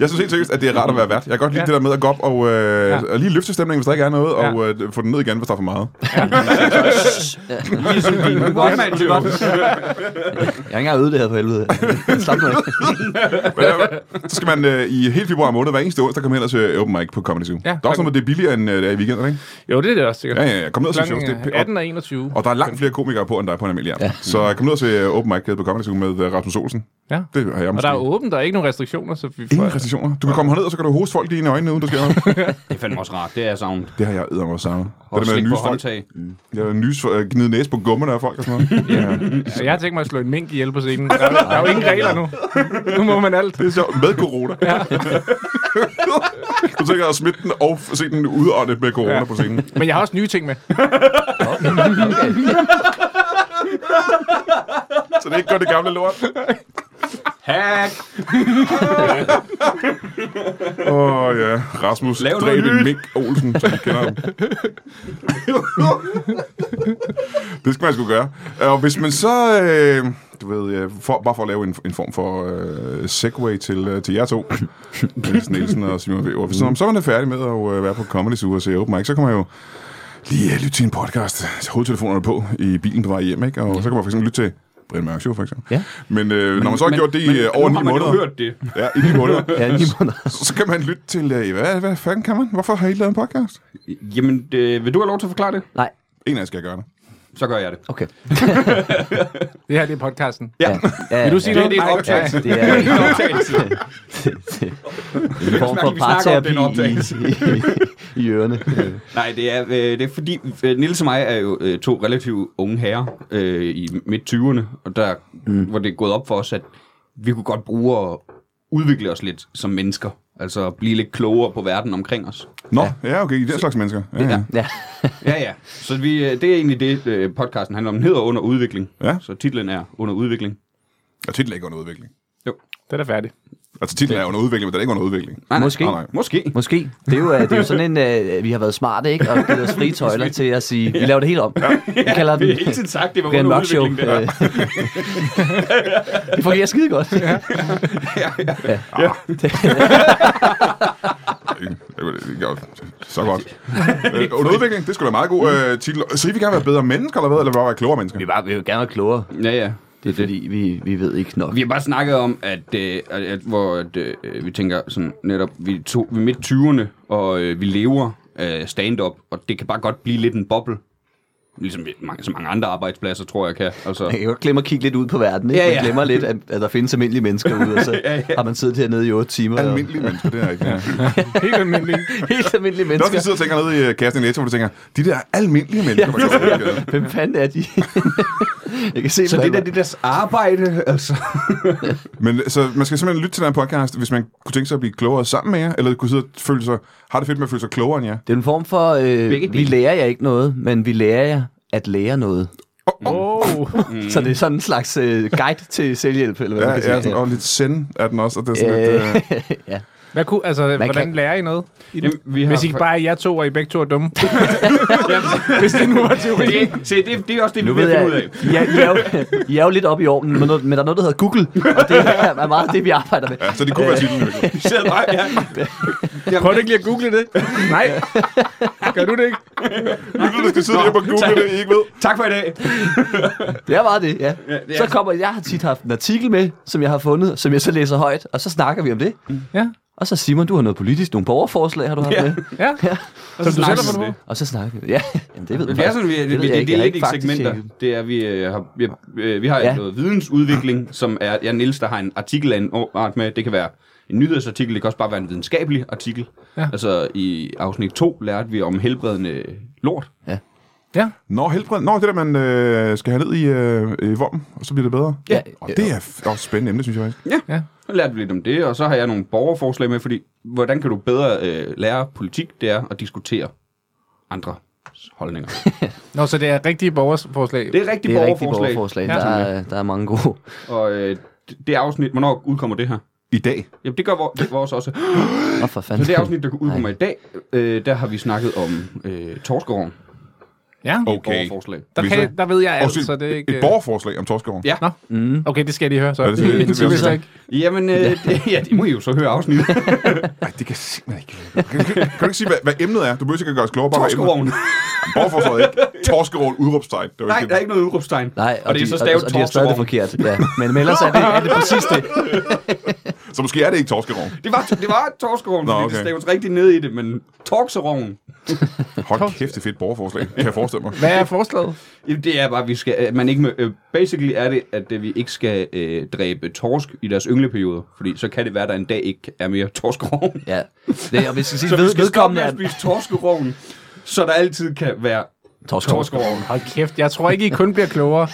Speaker 1: jeg synes helt seriøst, at det er rart at være vært. Jeg kan godt lide ja.
Speaker 3: Ja.
Speaker 1: det der med at gå op og, øh,
Speaker 3: Ja.
Speaker 1: og lige løfte stemningen, hvis der ikke er noget,
Speaker 3: Ja.
Speaker 1: og øh, få den ned igen, hvis der er for meget.
Speaker 2: Ligesom din one-man show.
Speaker 4: Jeg har ikke engang øvet det her for helvede. Slap nu af.
Speaker 1: Men, øh, så skal man øh, i hele februar måned, hver eneste onsdag, komme hen og se open mic på Comedy Zoo. der er også
Speaker 3: klokken-
Speaker 1: noget med, det er billigere end øh, det er i weekenden, ikke?
Speaker 3: jo, det er det også sikkert.
Speaker 1: Ja, ja, ja. Kom ned og se shows. Det er
Speaker 3: Klokken
Speaker 1: p-
Speaker 3: øh, 18 og 21.
Speaker 1: og der er langt flere komikere på, end der er på en almindelig aften. Ja. Så kom ned og se øh, open mic på Comedy Zoo med øh, Rasmus Olsen.
Speaker 3: Ja.
Speaker 1: Det har jeg
Speaker 3: Og
Speaker 1: måske.
Speaker 3: der er åbent, der er ikke nogen restriktioner, så vi
Speaker 1: Ingen
Speaker 3: får...
Speaker 1: restriktioner. Du kan komme herned, og så kan du hoste folk lige ind i øjnene, uden der sker noget.
Speaker 2: Det er fandme også rart. Det er jeg savnet.
Speaker 1: det har jeg æder mig sammen. Det der
Speaker 2: Og
Speaker 1: med at
Speaker 2: slik på
Speaker 1: nyse folk. Mm.
Speaker 2: håndtag.
Speaker 1: Jeg har nys for at gnide næse på gummerne af folk og sådan noget.
Speaker 3: Ja, jeg har tænkt mig at slå en mink ihjel på scenen. Der, er- der er jo ingen regler nu. Nu må man alt.
Speaker 1: Det er sjovt. Med corona. Ja. du tænker at smitte den og f- se den udånde med corona ja.
Speaker 3: Ja.
Speaker 1: på scenen.
Speaker 3: Men jeg har også nye ting med.
Speaker 1: Så det er ikke godt det gamle lort.
Speaker 2: Hack!
Speaker 1: Åh oh, ja, Rasmus,
Speaker 2: Lav
Speaker 1: dræb
Speaker 2: noget
Speaker 1: en
Speaker 2: nyt.
Speaker 1: mink Olsen, som vi kender ham. det skal man sgu gøre. Og hvis man så, øh, du ved, øh, for, bare for at lave en, en form for øh, segway til, øh, til jer to, Niels Nielsen og Simon V. Aarhus. Hvis man så er man færdig med at øh, være på Comedy Zoo og se open mic, så kan man jo lige øh, lytte til en podcast, så hovedtelefonerne på i bilen på vej hjem, ikke? og så kan man for eksempel lytte til Brian Mørk Show, for eksempel.
Speaker 4: Ja.
Speaker 1: Men, øh, når man så har gjort det i øh, over
Speaker 2: nu
Speaker 1: 9
Speaker 2: har man jo
Speaker 1: måneder,
Speaker 2: hørt det.
Speaker 1: ja, i 9 måneder,
Speaker 4: Ja, lige måneder.
Speaker 1: så kan man lytte til, øh, hvad, hvad fanden kan man? Hvorfor har I ikke lavet en podcast?
Speaker 2: Jamen, øh, vil du have lov til at forklare det?
Speaker 4: Nej,
Speaker 1: En af jer skal gøre det.
Speaker 2: Så gør jeg det.
Speaker 4: okay.
Speaker 3: Det her, det er podcasten.
Speaker 4: Ja. ja.
Speaker 3: Vil du sige
Speaker 2: Det her,
Speaker 3: noget?
Speaker 2: det er
Speaker 3: Nej.
Speaker 2: en optagelse.
Speaker 4: det er
Speaker 2: en optagelse. snakke, vi
Speaker 4: en form for
Speaker 2: snakker om
Speaker 4: parterapi
Speaker 2: den opdagelse.
Speaker 4: i, i, i, i ørerne. Øh,
Speaker 2: Nej, det er, øh, det er fordi, øh, Nils og mig er jo øh, to relativt unge herrer øh, i midt-20'erne, og der, mm. hvor det er gået op for os, at vi kunne godt bruge at udvikle os lidt som mennesker. Altså at blive lidt klogere på verden omkring os.
Speaker 1: Nå, ja, ja okay, I den slags mennesker. Ja, ja.
Speaker 2: Ja.
Speaker 4: Ja,
Speaker 2: Ja, ja. Så vi, øh, det er egentlig det, øh, podcasten handler om. Den hedder Under Udvikling.
Speaker 1: Ja.
Speaker 2: Så titlen er Under Udvikling.
Speaker 1: Og titlen er ikke under udvikling.
Speaker 3: Den er færdig.
Speaker 1: Altså titlen er under udvikling, men den er ikke under udvikling.
Speaker 2: Nej, nej.
Speaker 4: måske.
Speaker 1: Nej, nej.
Speaker 2: Måske.
Speaker 4: Måske. Det er jo, øh, det er jo sådan en, øh, vi har været smarte, ikke? Og givet os frie tøjler til at sige, vi laver det helt om. Vi kalder
Speaker 2: Vi
Speaker 4: den
Speaker 2: har hele tiden sagt, det var
Speaker 4: Brian
Speaker 2: under
Speaker 4: Mørk Show.
Speaker 2: udvikling. Det.
Speaker 4: Øh, det fungerer skide godt. Ja.
Speaker 1: Ja, Så godt. Øh, under udvikling, det skulle sgu da meget god øh, titel. Så I vil gerne være bedre mennesker, eller hvad? Eller bare være klogere mennesker?
Speaker 4: Vi, bare, vi vil gerne være klogere.
Speaker 2: Ja, ja.
Speaker 4: Det er fordi, vi, vi ved ikke nok.
Speaker 2: Vi har bare snakket om, at, øh, at, at hvor at, øh, vi tænker sådan netop, vi, to, vi er midt 20'erne, og øh, vi lever øh, stand-up, og det kan bare godt blive lidt en boble. Ligesom vi- mange, så mange andre arbejdspladser, tror jeg, kan. Altså,
Speaker 4: Jeg kan godt glemme at kigge lidt ud på verden, ikke?
Speaker 2: Ja,
Speaker 4: Ja, ja.
Speaker 2: ja.
Speaker 4: Man glemmer lidt, at, at der findes almindelige mennesker ude, og så
Speaker 2: Ja, ja.
Speaker 4: har man siddet hernede i 8 timer. og-
Speaker 1: Almindelige mennesker, det er ikke. Ja.
Speaker 3: Helt almindeligt.
Speaker 4: Helt almindelige
Speaker 1: Det er også, de
Speaker 4: mennesker.
Speaker 1: sidder og tænker nede i øh, kassen i Netto, hvor du tænker, de der almindelige mennesker, man kan overhovedet ikke.
Speaker 4: Hvem fanden er de? jeg kan se,
Speaker 2: så det der, det er deres arbejde, altså.
Speaker 1: Men så man skal simpelthen lytte til den her podcast, hvis man kunne tænke sig at blive klogere sammen med jer, eller kunne sidde og føle sig, har det fedt med at føle sig klogere end jer.
Speaker 4: det er en form for,
Speaker 2: Begge
Speaker 4: øh, vi
Speaker 2: dele.
Speaker 4: lærer jer ikke noget, men vi lærer jer at lære noget.
Speaker 3: Wow.
Speaker 4: Mm. Så det er sådan en slags øh, guide til selvhjælp, eller hvad
Speaker 1: Ja,
Speaker 4: man kan
Speaker 1: ja,
Speaker 4: sige.
Speaker 1: sådan, og lidt send er den også, og det er sådan lidt... Øh,
Speaker 4: ja.
Speaker 3: Hvad kunne, altså, man hvordan
Speaker 4: kan-
Speaker 3: kan... lærer I noget? I
Speaker 2: Jamen,
Speaker 3: Jamen,
Speaker 2: vi
Speaker 3: vi
Speaker 2: har-
Speaker 3: Hvis I ikke bare er jer to, og I begge to er dumme. Hvis det nu var teorien.
Speaker 2: Det, se, det, det er også det,
Speaker 4: Nu
Speaker 2: vi er
Speaker 4: ved
Speaker 2: ved at finde ud
Speaker 4: jeg,
Speaker 2: af.
Speaker 4: I er, I, er jo, I er jo lidt oppe i ovnen, men, noget- men der er noget, der hedder Google, og det er, er meget det, vi arbejder med.
Speaker 1: ja, så det kunne være øh, titlen. Mikkel.
Speaker 2: Vi sidder bare, ja.
Speaker 3: Prøv du ikke lige at google det. Nej. Gør du det ikke?
Speaker 1: Lytter, der skal sidde hjemme og google det, I ikke ved.
Speaker 2: Tak for i dag.
Speaker 4: Det er meget det, ja.
Speaker 2: Ja, det er
Speaker 4: Så kommer, jeg har tit haft en artikel med, som jeg har fundet, som jeg så læser højt, og så snakker vi om det.
Speaker 3: Ja.
Speaker 4: Og så Simon, du har noget politisk, nogle borgerforslag har du haft
Speaker 2: Ja.
Speaker 4: med.
Speaker 3: Ja. Som du selv
Speaker 2: snakker
Speaker 3: har
Speaker 2: vi
Speaker 3: fundet
Speaker 2: om
Speaker 3: på.
Speaker 4: Og så snakker vi. Ja, jamen, det ved
Speaker 2: Det er sådan, vi,
Speaker 4: faktisk.
Speaker 2: det, vi,
Speaker 4: ved jeg
Speaker 2: det,
Speaker 4: ikke.
Speaker 2: det
Speaker 4: Jeg
Speaker 2: er
Speaker 4: har
Speaker 2: lidt i
Speaker 4: ikke faktisk
Speaker 2: segmenter.
Speaker 4: tjekket.
Speaker 2: Det er, vi, øh, har, vi, øh, vi har
Speaker 4: Ja.
Speaker 2: ja. noget vidensudvikling, som er, jeg Niels, der har en artikel af en art med. Det kan være en nyhedsartikel, det kan også bare være en videnskabelig artikel. Ja. Altså i afsnit 2 lærte vi om helbredende lort.
Speaker 3: Ja.
Speaker 1: Nå, helbred. Nå, det der, man øh, skal have ned i, øh, i vormen, og så bliver det bedre.
Speaker 4: Ja.
Speaker 1: Og det er f- også spændende emne, synes jeg faktisk.
Speaker 3: Ja.
Speaker 2: Så lærte vi lidt om det, og så har jeg nogle borgerforslag med, fordi hvordan kan du bedre øh, lære politik, det er at diskutere andre holdninger.
Speaker 3: Nå, så det er rigtige borgerforslag.
Speaker 2: Det er rigtig
Speaker 4: Det er rigtig
Speaker 2: borgerforslag.
Speaker 4: borgerforslag.
Speaker 3: Ja.
Speaker 4: Der, er, der er mange gode.
Speaker 2: Og øh, det- det afsnit, hvornår udkommer det her?
Speaker 1: I dag.
Speaker 2: Jamen, det gør vor- vores også.
Speaker 4: Nå, for fanden.
Speaker 2: Så det afsnit, der udkommer i dag, øh, der har vi snakket om øh, Torsgaard
Speaker 3: Ja.
Speaker 1: Okay.
Speaker 2: borgerforslag.
Speaker 3: Der,
Speaker 1: Hvis jeg-
Speaker 3: kan, der ved jeg
Speaker 1: Og
Speaker 3: alt,
Speaker 1: så
Speaker 3: Altså, så det er ikke... øh,
Speaker 1: et borgerforslag om Torsgaard.
Speaker 2: Ja.
Speaker 3: Nå.
Speaker 4: Mm.
Speaker 3: Okay, det skal jeg lige høre, så.
Speaker 1: Ja, det skal jeg- det vil jeg
Speaker 3: Hvis
Speaker 1: også.
Speaker 3: jeg ikke-
Speaker 2: Jamen, øh, det, ja, det må I jo så høre afsnittet.
Speaker 1: Nej, det kan jeg simpelthen ikke. Kan, kan, kan du ikke sige, hvad, hvad emnet er? Du behøver ikke at gøre os klogere. Bare hvad emnet er.
Speaker 2: Torsgaard.
Speaker 1: Borgerforslaget ikke. Torskerovn, udråbstegn. Det var
Speaker 2: Nej,
Speaker 1: ikke
Speaker 2: der er ikke noget udråbstegn.
Speaker 4: Nej, og,
Speaker 2: og det er
Speaker 4: de,
Speaker 2: så stavet
Speaker 4: og, og de har stadig det
Speaker 2: Torsgaard.
Speaker 4: forkert. Ja. Men, men ellers er det, er det præcis det.
Speaker 1: Så måske er det ikke Torskerovn.
Speaker 2: Det var, det var Torsgaard,
Speaker 1: Nå,
Speaker 2: fordi
Speaker 1: okay.
Speaker 2: det staves rigtig ned i det, men Torkseroven,
Speaker 1: Hold kæft, det er fedt borgerforslag. Kan jeg forestille mig.
Speaker 3: Hvad er forslaget?
Speaker 2: Jamen, det er bare, at vi skal, at man ikke må, øh, basically er det, at øh, vi ikke skal øh, dræbe torsk i deres yngleperioder, fordi så kan det være, at der en dag ikke er mere torskeroven.
Speaker 4: Ja. Det, og hvis jeg skal
Speaker 2: Så
Speaker 4: sige,
Speaker 2: vi
Speaker 4: ved,
Speaker 2: skal stoppe
Speaker 4: vedkommende
Speaker 2: med at
Speaker 4: er...
Speaker 2: spise torskeroven, så der altid kan være
Speaker 4: Torsk, torsk.
Speaker 2: torskeroven.
Speaker 3: Hold kæft, jeg tror ikke, I kun bliver klogere.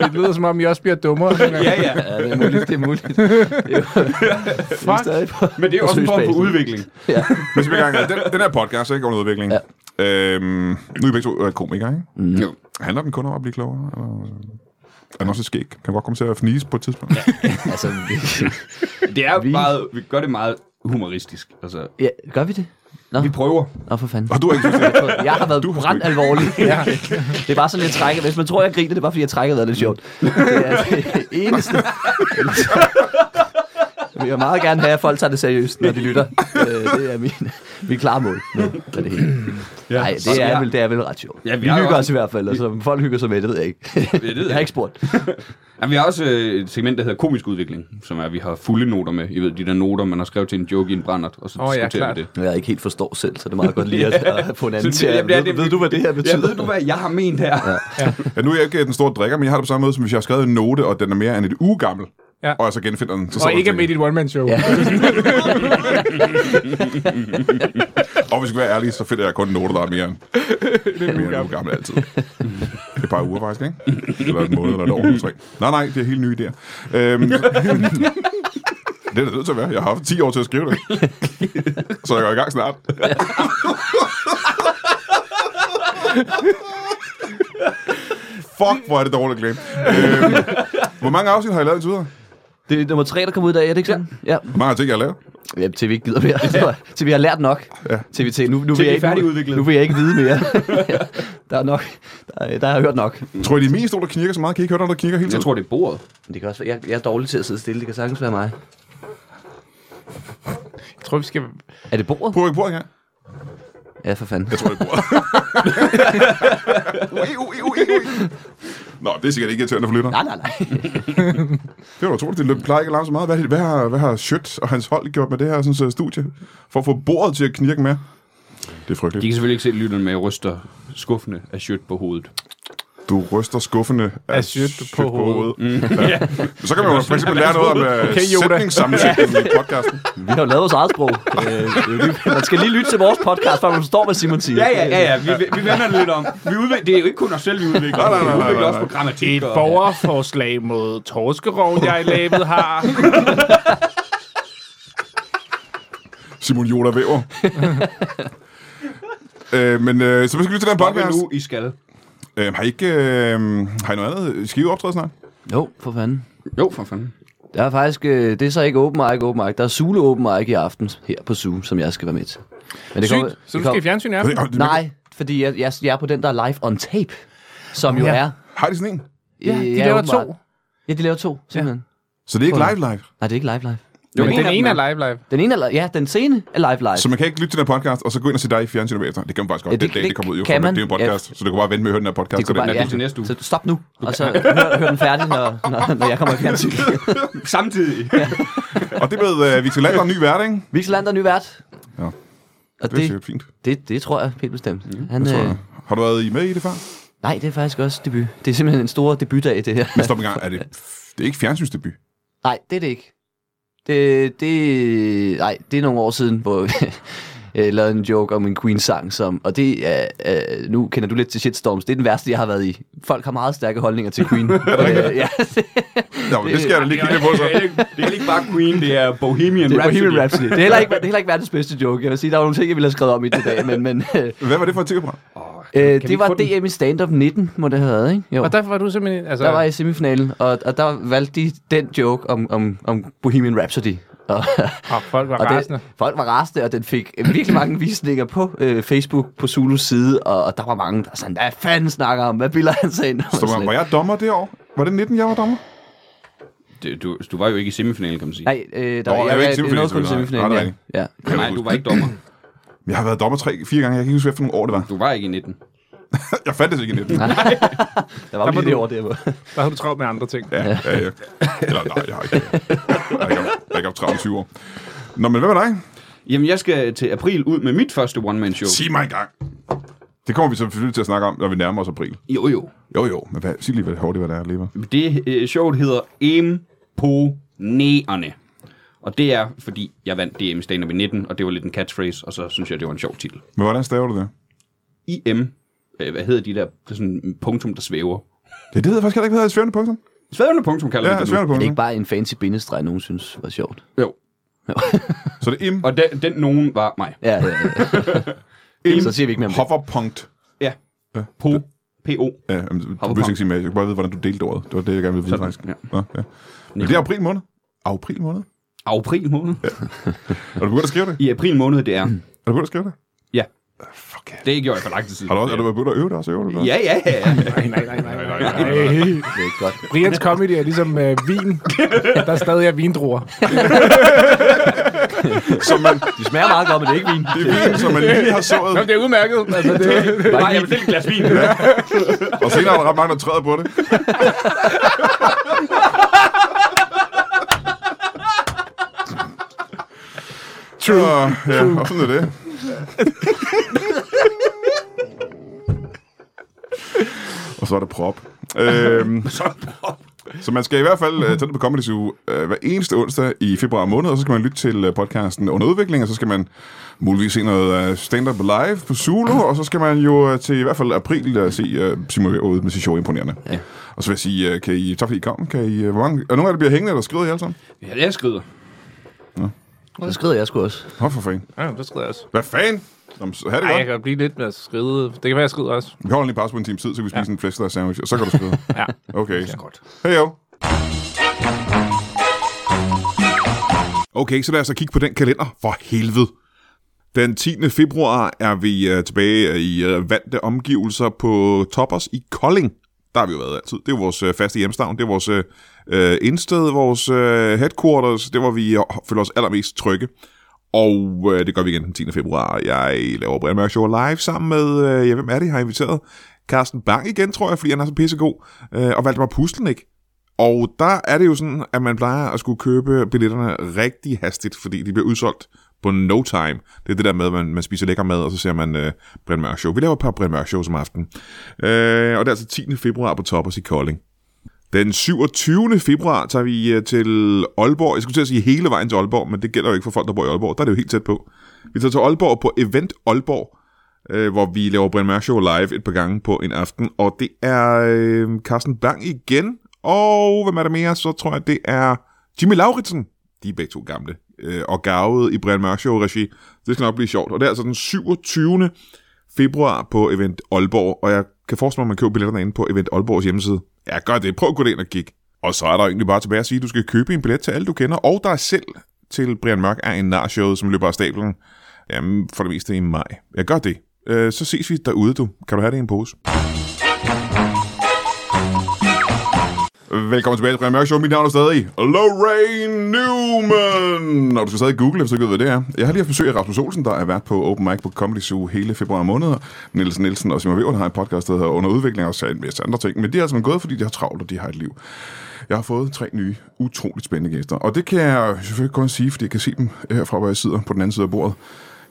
Speaker 3: Det lyder som om, I også bliver dummere.
Speaker 2: Ja, ja.
Speaker 4: Ja, det er muligt, det er muligt. Vi er
Speaker 3: Fuck.
Speaker 4: stadig på.
Speaker 2: Men det er jo
Speaker 4: Og
Speaker 2: også en form for
Speaker 4: søgsbasen.
Speaker 2: udvikling.
Speaker 4: Ja.
Speaker 1: Men så vil jeg gerne, den, den her podcast er ikke under udvikling. Ja.
Speaker 4: Ja.
Speaker 1: Øhm, nu er I begge to øh, komikere, ikke?
Speaker 2: Mm. Jo.
Speaker 1: Handler den kun om at blive klogere? Eller? Er den også et skæg? Kan godt komme til at fnise på et tidspunkt? Ja.
Speaker 4: Altså, vi,
Speaker 2: Det er
Speaker 4: Vi-
Speaker 2: vi... meget, vi gør det meget humoristisk. Altså,
Speaker 4: ja, gør vi det? Nå,
Speaker 2: vi prøver.
Speaker 4: Nå for fanden.
Speaker 1: Og du har ikke synes, det
Speaker 4: Jeg har været
Speaker 1: Du har sgu
Speaker 4: brændt
Speaker 1: ikke-
Speaker 4: alvorlig. Ja. Det er bare sådan lidt trækket. Hvis man tror, jeg griner, det er bare fordi, jeg trækker været lidt sjovt. Det er det eneste. Jeg vil meget gerne have, at folk tager det seriøst, når de lytter. Øh, Det er min, min klare mål. Nu, er det hele. Nej,
Speaker 2: så
Speaker 4: det, er
Speaker 2: jeg-
Speaker 4: vel, det er vel ret sjovt.
Speaker 2: Ja, vi
Speaker 4: vi,
Speaker 2: har jo
Speaker 4: hygger os
Speaker 2: også-
Speaker 4: i hvert fald, og så folk hygger sig med, det ved jeg ikke.
Speaker 2: ved
Speaker 4: Jeg
Speaker 2: jeg
Speaker 4: har
Speaker 2: ikke.
Speaker 4: ikke spurgt.
Speaker 2: Jamen, vi har også øh, et segment, der hedder komisk udvikling, som er, at vi har fulde noter med. I ved, de der noter, man har skrevet til en joke i en brændert, og så
Speaker 3: Åh,
Speaker 2: oh,
Speaker 3: ja,
Speaker 2: ja, diskuterer
Speaker 3: klart.
Speaker 2: vi det.
Speaker 4: Jeg ikke helt forstår selv, så det er meget godt lige at, at få en anden
Speaker 2: Så
Speaker 4: til at...
Speaker 2: jamen, det er
Speaker 4: Ved, ved du, hvad det her betyder?
Speaker 2: Ja, ved du, hvad jeg har ment her? Ja.
Speaker 1: ja, nu er jeg ikke øh, den store drikker, men jeg har det på samme måde, som hvis jeg har skrevet en note, og den er mere end et uge gammel.
Speaker 3: Ja.
Speaker 1: Og jeg så genfinder den. Så sidder
Speaker 3: Og
Speaker 1: man
Speaker 3: ikke
Speaker 1: og
Speaker 3: er med i
Speaker 1: tænker,
Speaker 3: dit one-man-show.
Speaker 4: Ja.
Speaker 1: Og hvis vi skal være ærlige, så finder jeg kun noter, der er mere end, mere end en uge gammel altid. Det er bare uger faktisk, ikke? Eller en måned, eller et år, eller tre. Nej, nej, det er helt nye idéer. Øhm, det er det nødt til at være. Jeg har haft 10 år til at skrive det. Så jeg går i gang snart. Fuck, hvor er det dårligt at glemme. Øhm, hvor mange afsnit har I lavet indtil videre?
Speaker 4: Det er nummer tre, der kommer ud i dag, er det ikke sådan? Ja.
Speaker 1: Hvor mange har ting, jeg har lavet?
Speaker 4: ja. til vi ikke gider mere. Ja. til vi har lært nok. Ja. Til vi til, nu, nu,
Speaker 2: Til
Speaker 4: vil jeg
Speaker 2: vi er
Speaker 4: ikke, nu,
Speaker 2: færdigudviklet.
Speaker 4: nu vil jeg ikke vide mere. Ja. der er nok. Der, er- der har jeg hørt nok.
Speaker 1: Tror I, det er min stol, der knirker så meget? Kan I ikke høre, når der knirker hele tiden?
Speaker 2: Jeg tror, det er bordet.
Speaker 4: Det kan også være, jeg, jeg er dårlig til at sidde stille. Det kan sagtens være mig.
Speaker 3: Jeg tror, vi skal...
Speaker 4: Er det bordet?
Speaker 1: Prøv ikke på, ja.
Speaker 4: Ja, for fanden.
Speaker 1: Jeg tror, det er bordet. ui, ui, ui, ui. Nå, det er sikkert ikke irriterende for lytter.
Speaker 4: Nej, nej, nej.
Speaker 1: Det var da utroligt, det løb- plejer ikke at larme så meget. Hvad, hvad, har, hvad har Schødt og hans hold gjort med det her sådan, så studie? For at få bordet til at knirke med? Det er frygteligt.
Speaker 2: De kan selvfølgelig ikke se lytterne, men jeg ryster skuffende af shit på hovedet.
Speaker 1: Du ryster skuffende af,
Speaker 3: Af Schødt på hovedet.
Speaker 1: Mm. Ja. Så kan man jo for eksempel lære noget om uh,
Speaker 3: Okay, Yoda.
Speaker 1: sætningssammensætningen i podcasten.
Speaker 4: Vi har jo lavet vores eget sprog. Øh, det er jo lige- Man skal lige lytte til vores podcast, før man forstår, hvad Simon siger.
Speaker 2: Ja, ja, ja, ja. Vi, vi vender det lidt om. Vi udvikler, det er jo ikke kun os selv, vi udvikler.
Speaker 1: Nej, nej, nej,
Speaker 2: vi
Speaker 1: nej,
Speaker 2: udvikler
Speaker 1: nej.
Speaker 2: også på grammatik.
Speaker 3: Et
Speaker 2: Og,
Speaker 3: borgerforslag mod torskerov, jeg i labet har.
Speaker 1: Simon Joda Væver. øh, men øh, så vi skal lytte til den
Speaker 2: Fuck jer
Speaker 1: podcast.
Speaker 2: nu, I skal.
Speaker 1: Øh, har I ikke... Øh, har I noget andet? Skal I optræde snart?
Speaker 4: Jo, for fanden.
Speaker 2: Jo, for fanden.
Speaker 4: Der er faktisk, øh, det er så ikke open mic, open mic. Der er Zulu open mic i aften her på Zoom, som jeg skal være med til. Men det
Speaker 3: Sygt. Så du skal i fjernsyn i aften?
Speaker 1: Har de-
Speaker 4: Nej, fordi jeg, jeg, jeg er på den, der er live on tape, som jo
Speaker 3: Ja.
Speaker 4: er...
Speaker 1: Har de sådan en?
Speaker 3: Ja,
Speaker 4: øh,
Speaker 3: de
Speaker 4: ja,
Speaker 3: laver
Speaker 4: åbenbart.
Speaker 3: to.
Speaker 4: Ja, de laver to, simpelthen.
Speaker 1: Så det er ikke live live?
Speaker 4: Nej, det er ikke live live.
Speaker 2: Jo,
Speaker 3: Men den ene er live live.
Speaker 4: Den ene er, li- ja, den scene er live live.
Speaker 1: Så man kan ikke lytte til den her podcast, og så gå ind og se dig i fjernsynet bagefter. Det kan man faktisk godt.
Speaker 4: Altså- Ja,
Speaker 1: det,
Speaker 4: det-
Speaker 1: den dag,
Speaker 4: det
Speaker 1: det kommer ud, jo,
Speaker 4: kan
Speaker 1: for
Speaker 4: man.
Speaker 1: det er jo en podcast, så du kan bare vente med at høre den her podcast.
Speaker 4: kunne
Speaker 1: til den
Speaker 2: bare-
Speaker 1: dag.
Speaker 2: er det til næste uge.
Speaker 4: Så stop nu, og så hør, hør den færdig, når, når, når jeg kommer i fjernsyn.
Speaker 2: Samtidig.
Speaker 1: Og det med uh, Victor Lander, ny vært, ikke?
Speaker 4: Vixel Lander, ny vært.
Speaker 1: Ja.
Speaker 4: Og
Speaker 1: Det er
Speaker 4: det,
Speaker 1: sikkert fint.
Speaker 4: det, det tror jeg helt bestemt. Han,
Speaker 1: Tror
Speaker 4: øh,
Speaker 1: jeg. Har du været i med i det før?
Speaker 4: nej, det er faktisk også debut. Det er simpelthen en stor debutdag, det her.
Speaker 1: Men stop en gang. Er det, det er ikke fjernsynsdebut.
Speaker 4: Nej, det er det ikke. Det, det, nej, det er nogle år siden, hvor jeg lavede en joke om en Queen-sang, som, og det er, øh, nu kender du lidt til shitstorms, det er den værste, jeg har været i. Folk har meget stærke holdninger til Queen. øh, ja, det,
Speaker 1: Nå, men det skal jeg da lige kigge lidt på så.
Speaker 2: Det er ikke- det er ikke bare Queen, det er Bohemian
Speaker 4: det er
Speaker 2: Rhapsody.
Speaker 4: Bohemian Rhapsody. Det er, heller ikke, det er heller ikke verdens bedste joke. Jeg vil sige, der var nogle ting, jeg ville have skrevet om i det dag, men, men øh,
Speaker 1: Hvad var det for et tv-program?
Speaker 4: øh,
Speaker 2: vi
Speaker 4: det var
Speaker 2: få den?
Speaker 4: DM i stand-up 19, må det have været, ikke? Jo.
Speaker 3: Og der var du simpelthen... Altså,
Speaker 4: der var jeg i semifinalen, og, og der valgte de den joke om, om, om Bohemian Rhapsody. Og,
Speaker 3: oh, folk var
Speaker 4: og
Speaker 3: rasende.
Speaker 4: det, folk var rasende, og den fik øh, virkelig mange visninger på øh, Facebook, på Zulus side, og, og der var mange, der var sådan, hvad fanden snakker om, hvad bilder han sig ind? Og
Speaker 1: Så
Speaker 4: sådan
Speaker 1: var,
Speaker 4: lidt.
Speaker 1: var jeg dommer det år? Var det 19, jeg var dommer?
Speaker 2: Det- Du, du var jo ikke i semifinalen, kan man sige.
Speaker 4: Nej, øh, der
Speaker 1: Nå, jeg var
Speaker 4: jeg,
Speaker 1: ikke i
Speaker 4: jeg, jeg
Speaker 1: semifinalen,
Speaker 4: nåede kun
Speaker 1: selvfølgelig. Nej,
Speaker 4: semifinalen.
Speaker 1: det
Speaker 4: Ja.
Speaker 1: er
Speaker 4: ja.
Speaker 1: jeg
Speaker 2: Nej,
Speaker 1: huske.
Speaker 2: du var ikke dommer.
Speaker 1: Jeg har været dommer 3-4 gange. Jeg kan ikke huske, hvilken år det var.
Speaker 2: Du var ikke i 19.
Speaker 1: Jeg fandt det ikke i 19.
Speaker 4: Der var jo lige det over der. hvor-
Speaker 3: Der havde du travlt med andre ting.
Speaker 1: Ja, ja, ja. Eller nej, jeg har ikke. Jeg har ikke haft- jeg har ikke haft 30 år. Nå, men hvad med dig?
Speaker 2: Jamen, jeg skal til april ud med mit første one-man-show.
Speaker 1: Sig mig engang. Det kommer vi selvfølgelig til at snakke om, når vi nærmer os april.
Speaker 2: Jo, jo.
Speaker 1: Jo, jo, men hvad, sig lige, hvad hårdt det var, der er, lever.
Speaker 2: Det øh, showet hedder Imponerende. Og det er, fordi jeg vandt DM i stand i 19, og det var lidt en catchphrase, og så synes jeg, det var en sjov titel.
Speaker 1: Men hvordan staver du det?
Speaker 2: IM, øh, hvad hedder de der, det er sådan en punktum, der svæver.
Speaker 1: Ja, det hedder faktisk heller ikke, hvad hedder svævende punktum.
Speaker 2: Svævende punktum kalder
Speaker 1: Ja,
Speaker 2: vi det nu.
Speaker 1: svævende
Speaker 4: Det er ikke
Speaker 1: punktum.
Speaker 4: bare en fancy bindestreg, nogen synes var sjovt.
Speaker 2: Jo.
Speaker 1: Så det er im,
Speaker 2: Og den, den nogen var mig.
Speaker 4: Ja, ja, ja. Så siger vi ikke mere om det.
Speaker 1: hoverpunkt.
Speaker 2: Ja. Po. P.O.
Speaker 1: Ja, jamen, du behøver ikke sige mere. Jeg kan bare vide, hvordan du delte ordet. Det var det, jeg gerne ville vide,
Speaker 2: Sådan,
Speaker 1: faktisk.
Speaker 2: ja.
Speaker 1: Nå, ja. Men det er april måned. April måned?
Speaker 2: April måned.
Speaker 1: Er du begyndt at skrive det?
Speaker 2: I april måned, det er.
Speaker 1: Er du begyndt at skrive det?
Speaker 2: Ja.
Speaker 1: Fuck yeah.
Speaker 2: Det gjorde jeg for lang tid siden.
Speaker 1: Har du, også, er du begyndt at øve dig også? Øver du dig?
Speaker 2: Ja, ja, ja.
Speaker 3: Nej, nej, nej, nej, nej, nej.
Speaker 4: Det er ikke godt.
Speaker 3: Brians comedy er ligesom øh, vin. Der stadig er vindruer.
Speaker 1: Som man,
Speaker 4: De smager meget godt, men det er ikke vin.
Speaker 1: det er vin, som man lige har sået,
Speaker 3: Nå, men det er udmærket. Altså, det,
Speaker 2: Bare jeg vil et glas vin.
Speaker 1: og senere er der ret mange, der træder på det. True. Og, ja, og sådan er det. og så er der prop. Øhm, så man skal i hvert fald uh, tage det på Comedy Zoo uh, hver eneste onsdag i februar måned, og så skal man lytte til uh, podcasten under udvikling, og så skal man muligvis se noget uh, stand-up live på Zulu, og så skal man jo uh, til i hvert fald april uh, se uh, Simon Væver ud med sit show imponerende. Ja. Og så vil jeg sige, uh, kan I, tak fordi I kom. Kan I, uh, hvor mange, er nogen af jer, der bliver hængende eller skrider I alle sammen?
Speaker 2: Ja, jeg skrider.
Speaker 4: Så skrider jeg sgu også.
Speaker 1: Nå for fanden.
Speaker 3: ja, det skrider jeg også.
Speaker 1: Hvad fanden? Jamen, så, ha' det
Speaker 3: Ej, jeg
Speaker 1: godt.
Speaker 3: kan blive lidt med at skride. Det kan være, jeg skrider også.
Speaker 1: Vi holder lige pause på en time tid, så kan vi spise ja. en flæskesteg sandwich, og så kan du skride.
Speaker 3: Ja.
Speaker 1: Okay. Hej jo. Okay, så lad os da kigge på den kalender for helvede. Den 10. februar er vi øh, tilbage i øh, vante omgivelser på Toppers i Kolding. Der har vi jo været altid. Det er jo vores øh, faste hjemstavn. Det er vores øh, øh, indsted, vores øh, headquarters. Det var vi øh, føler os allermest trygge. Og øh, det gør vi igen den 10. februar. Jeg laver Brian Mørk Show live sammen med, øh, ja, hvem er det, jeg har inviteret? Carsten Bang igen, tror jeg, fordi han er så pissegod, øh, og Valdemar Puslenik. Og der er det jo sådan, at man plejer at skulle købe billetterne rigtig hastigt, fordi de bliver udsolgt på no time. Det er det der med, at man, man spiser lækker mad, og så ser man øh, Brian Mørk Show. Vi laver et par Brian Mørk Shows om aftenen. Øh, og det er altså 10. februar på Toppers i Kolding. Den 27. februar tager vi øh, til Aalborg. Jeg skulle til at sige hele vejen til Aalborg, men det gælder jo ikke for folk, der bor i Aalborg. Der er det jo helt tæt på. Vi tager til Aalborg på Event Aalborg, øh, hvor vi laver Brian Mørk Show live et par gange på en aften. Og det er øh, Carsten Bang igen. Og hvem er der mere? Så tror jeg, det er Jimmy Lauritsen. De er begge to gamle øh, og gavede i Brian Mørk Show regi. Det skal nok blive sjovt. Og det er altså den 27. februar på Event Aalborg, og jeg kan forestille mig, at man køber billetterne inde på Event Aalborgs hjemmeside. Ja, gør det. Prøv at gå ind og kigge. Og så er der jo egentlig bare tilbage at sige, at du skal købe en billet til alle, du kender, og dig selv til Brian Mørk er en narshowet, som løber af stablen. Jamen, for det meste i maj. Jeg gør det. Øh, så ses vi derude, du. Kan du have det i en pose? Velkommen tilbage til Brian Mørk Show. Mit navn er stadig Lorraine Newman. Og du skal stadig google, hvis du ikke ved, hvad det er. Jeg har lige haft besøg af Rasmus Olsen, der er vært på Open Mic på Comedy Zoo hele februar måned. Niels Nielsen og Simon Weber har en podcast, der hedder Under Udvikling, og så en masse andre ting. Men de er altså gået, fordi de har travlt, og de har et liv. Jeg har fået tre nye, utroligt spændende gæster. Og det kan jeg selvfølgelig kun sige, fordi jeg kan se dem øh, herfra, hvor jeg sidder på den anden side af bordet.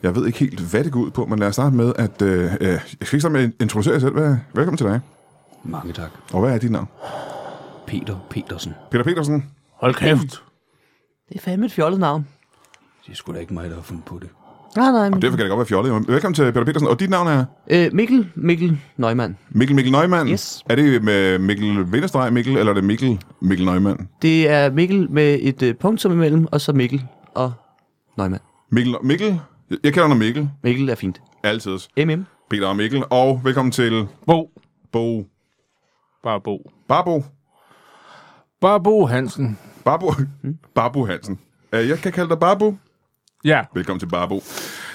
Speaker 1: Jeg ved ikke helt, hvad det går ud på, men lad os starte med, at... Øh, øh, jeg skal ikke starte med at introducere jer selv. Hvad- Velkommen til dig.
Speaker 2: Mange tak.
Speaker 1: Og hvad er dit navn?
Speaker 2: Peter Petersen.
Speaker 1: Peter Petersen.
Speaker 3: Hold kæft.
Speaker 4: Det er fandme et fjollet navn.
Speaker 2: Det er sgu da ikke mig, der har fundet på det.
Speaker 4: Nej, nej.
Speaker 1: Og
Speaker 4: Men,
Speaker 1: derfor kan det godt være fjollet. Men Velkommen til Peter Petersen. Og dit navn er
Speaker 4: øh, Mikkel, Mikkel Neumann.
Speaker 1: Mikkel Mikkel Nøgman.
Speaker 4: Yes.
Speaker 1: Er det med Mikkel Vinderstreg Mikkel, eller er det Mikkel Mikkel Nøgman?
Speaker 4: Det er Mikkel med et øh, punktum imellem, og så Mikkel og Neumann.
Speaker 1: Mikkel, Mikkel? Jeg- Jeg kender dig Mikkel.
Speaker 4: Mikkel er fint.
Speaker 1: Altid.
Speaker 4: MM.
Speaker 1: Peter og Mikkel. Og velkommen til
Speaker 3: Bo.
Speaker 1: Bo.
Speaker 3: Bare Bo.
Speaker 1: Barbo.
Speaker 3: Bare Bo Hansen.
Speaker 1: Barbo. Barbo Hansen. Øh, Jeg kan kalde dig Barbo.
Speaker 3: Ja.
Speaker 1: Velkommen til Barbo.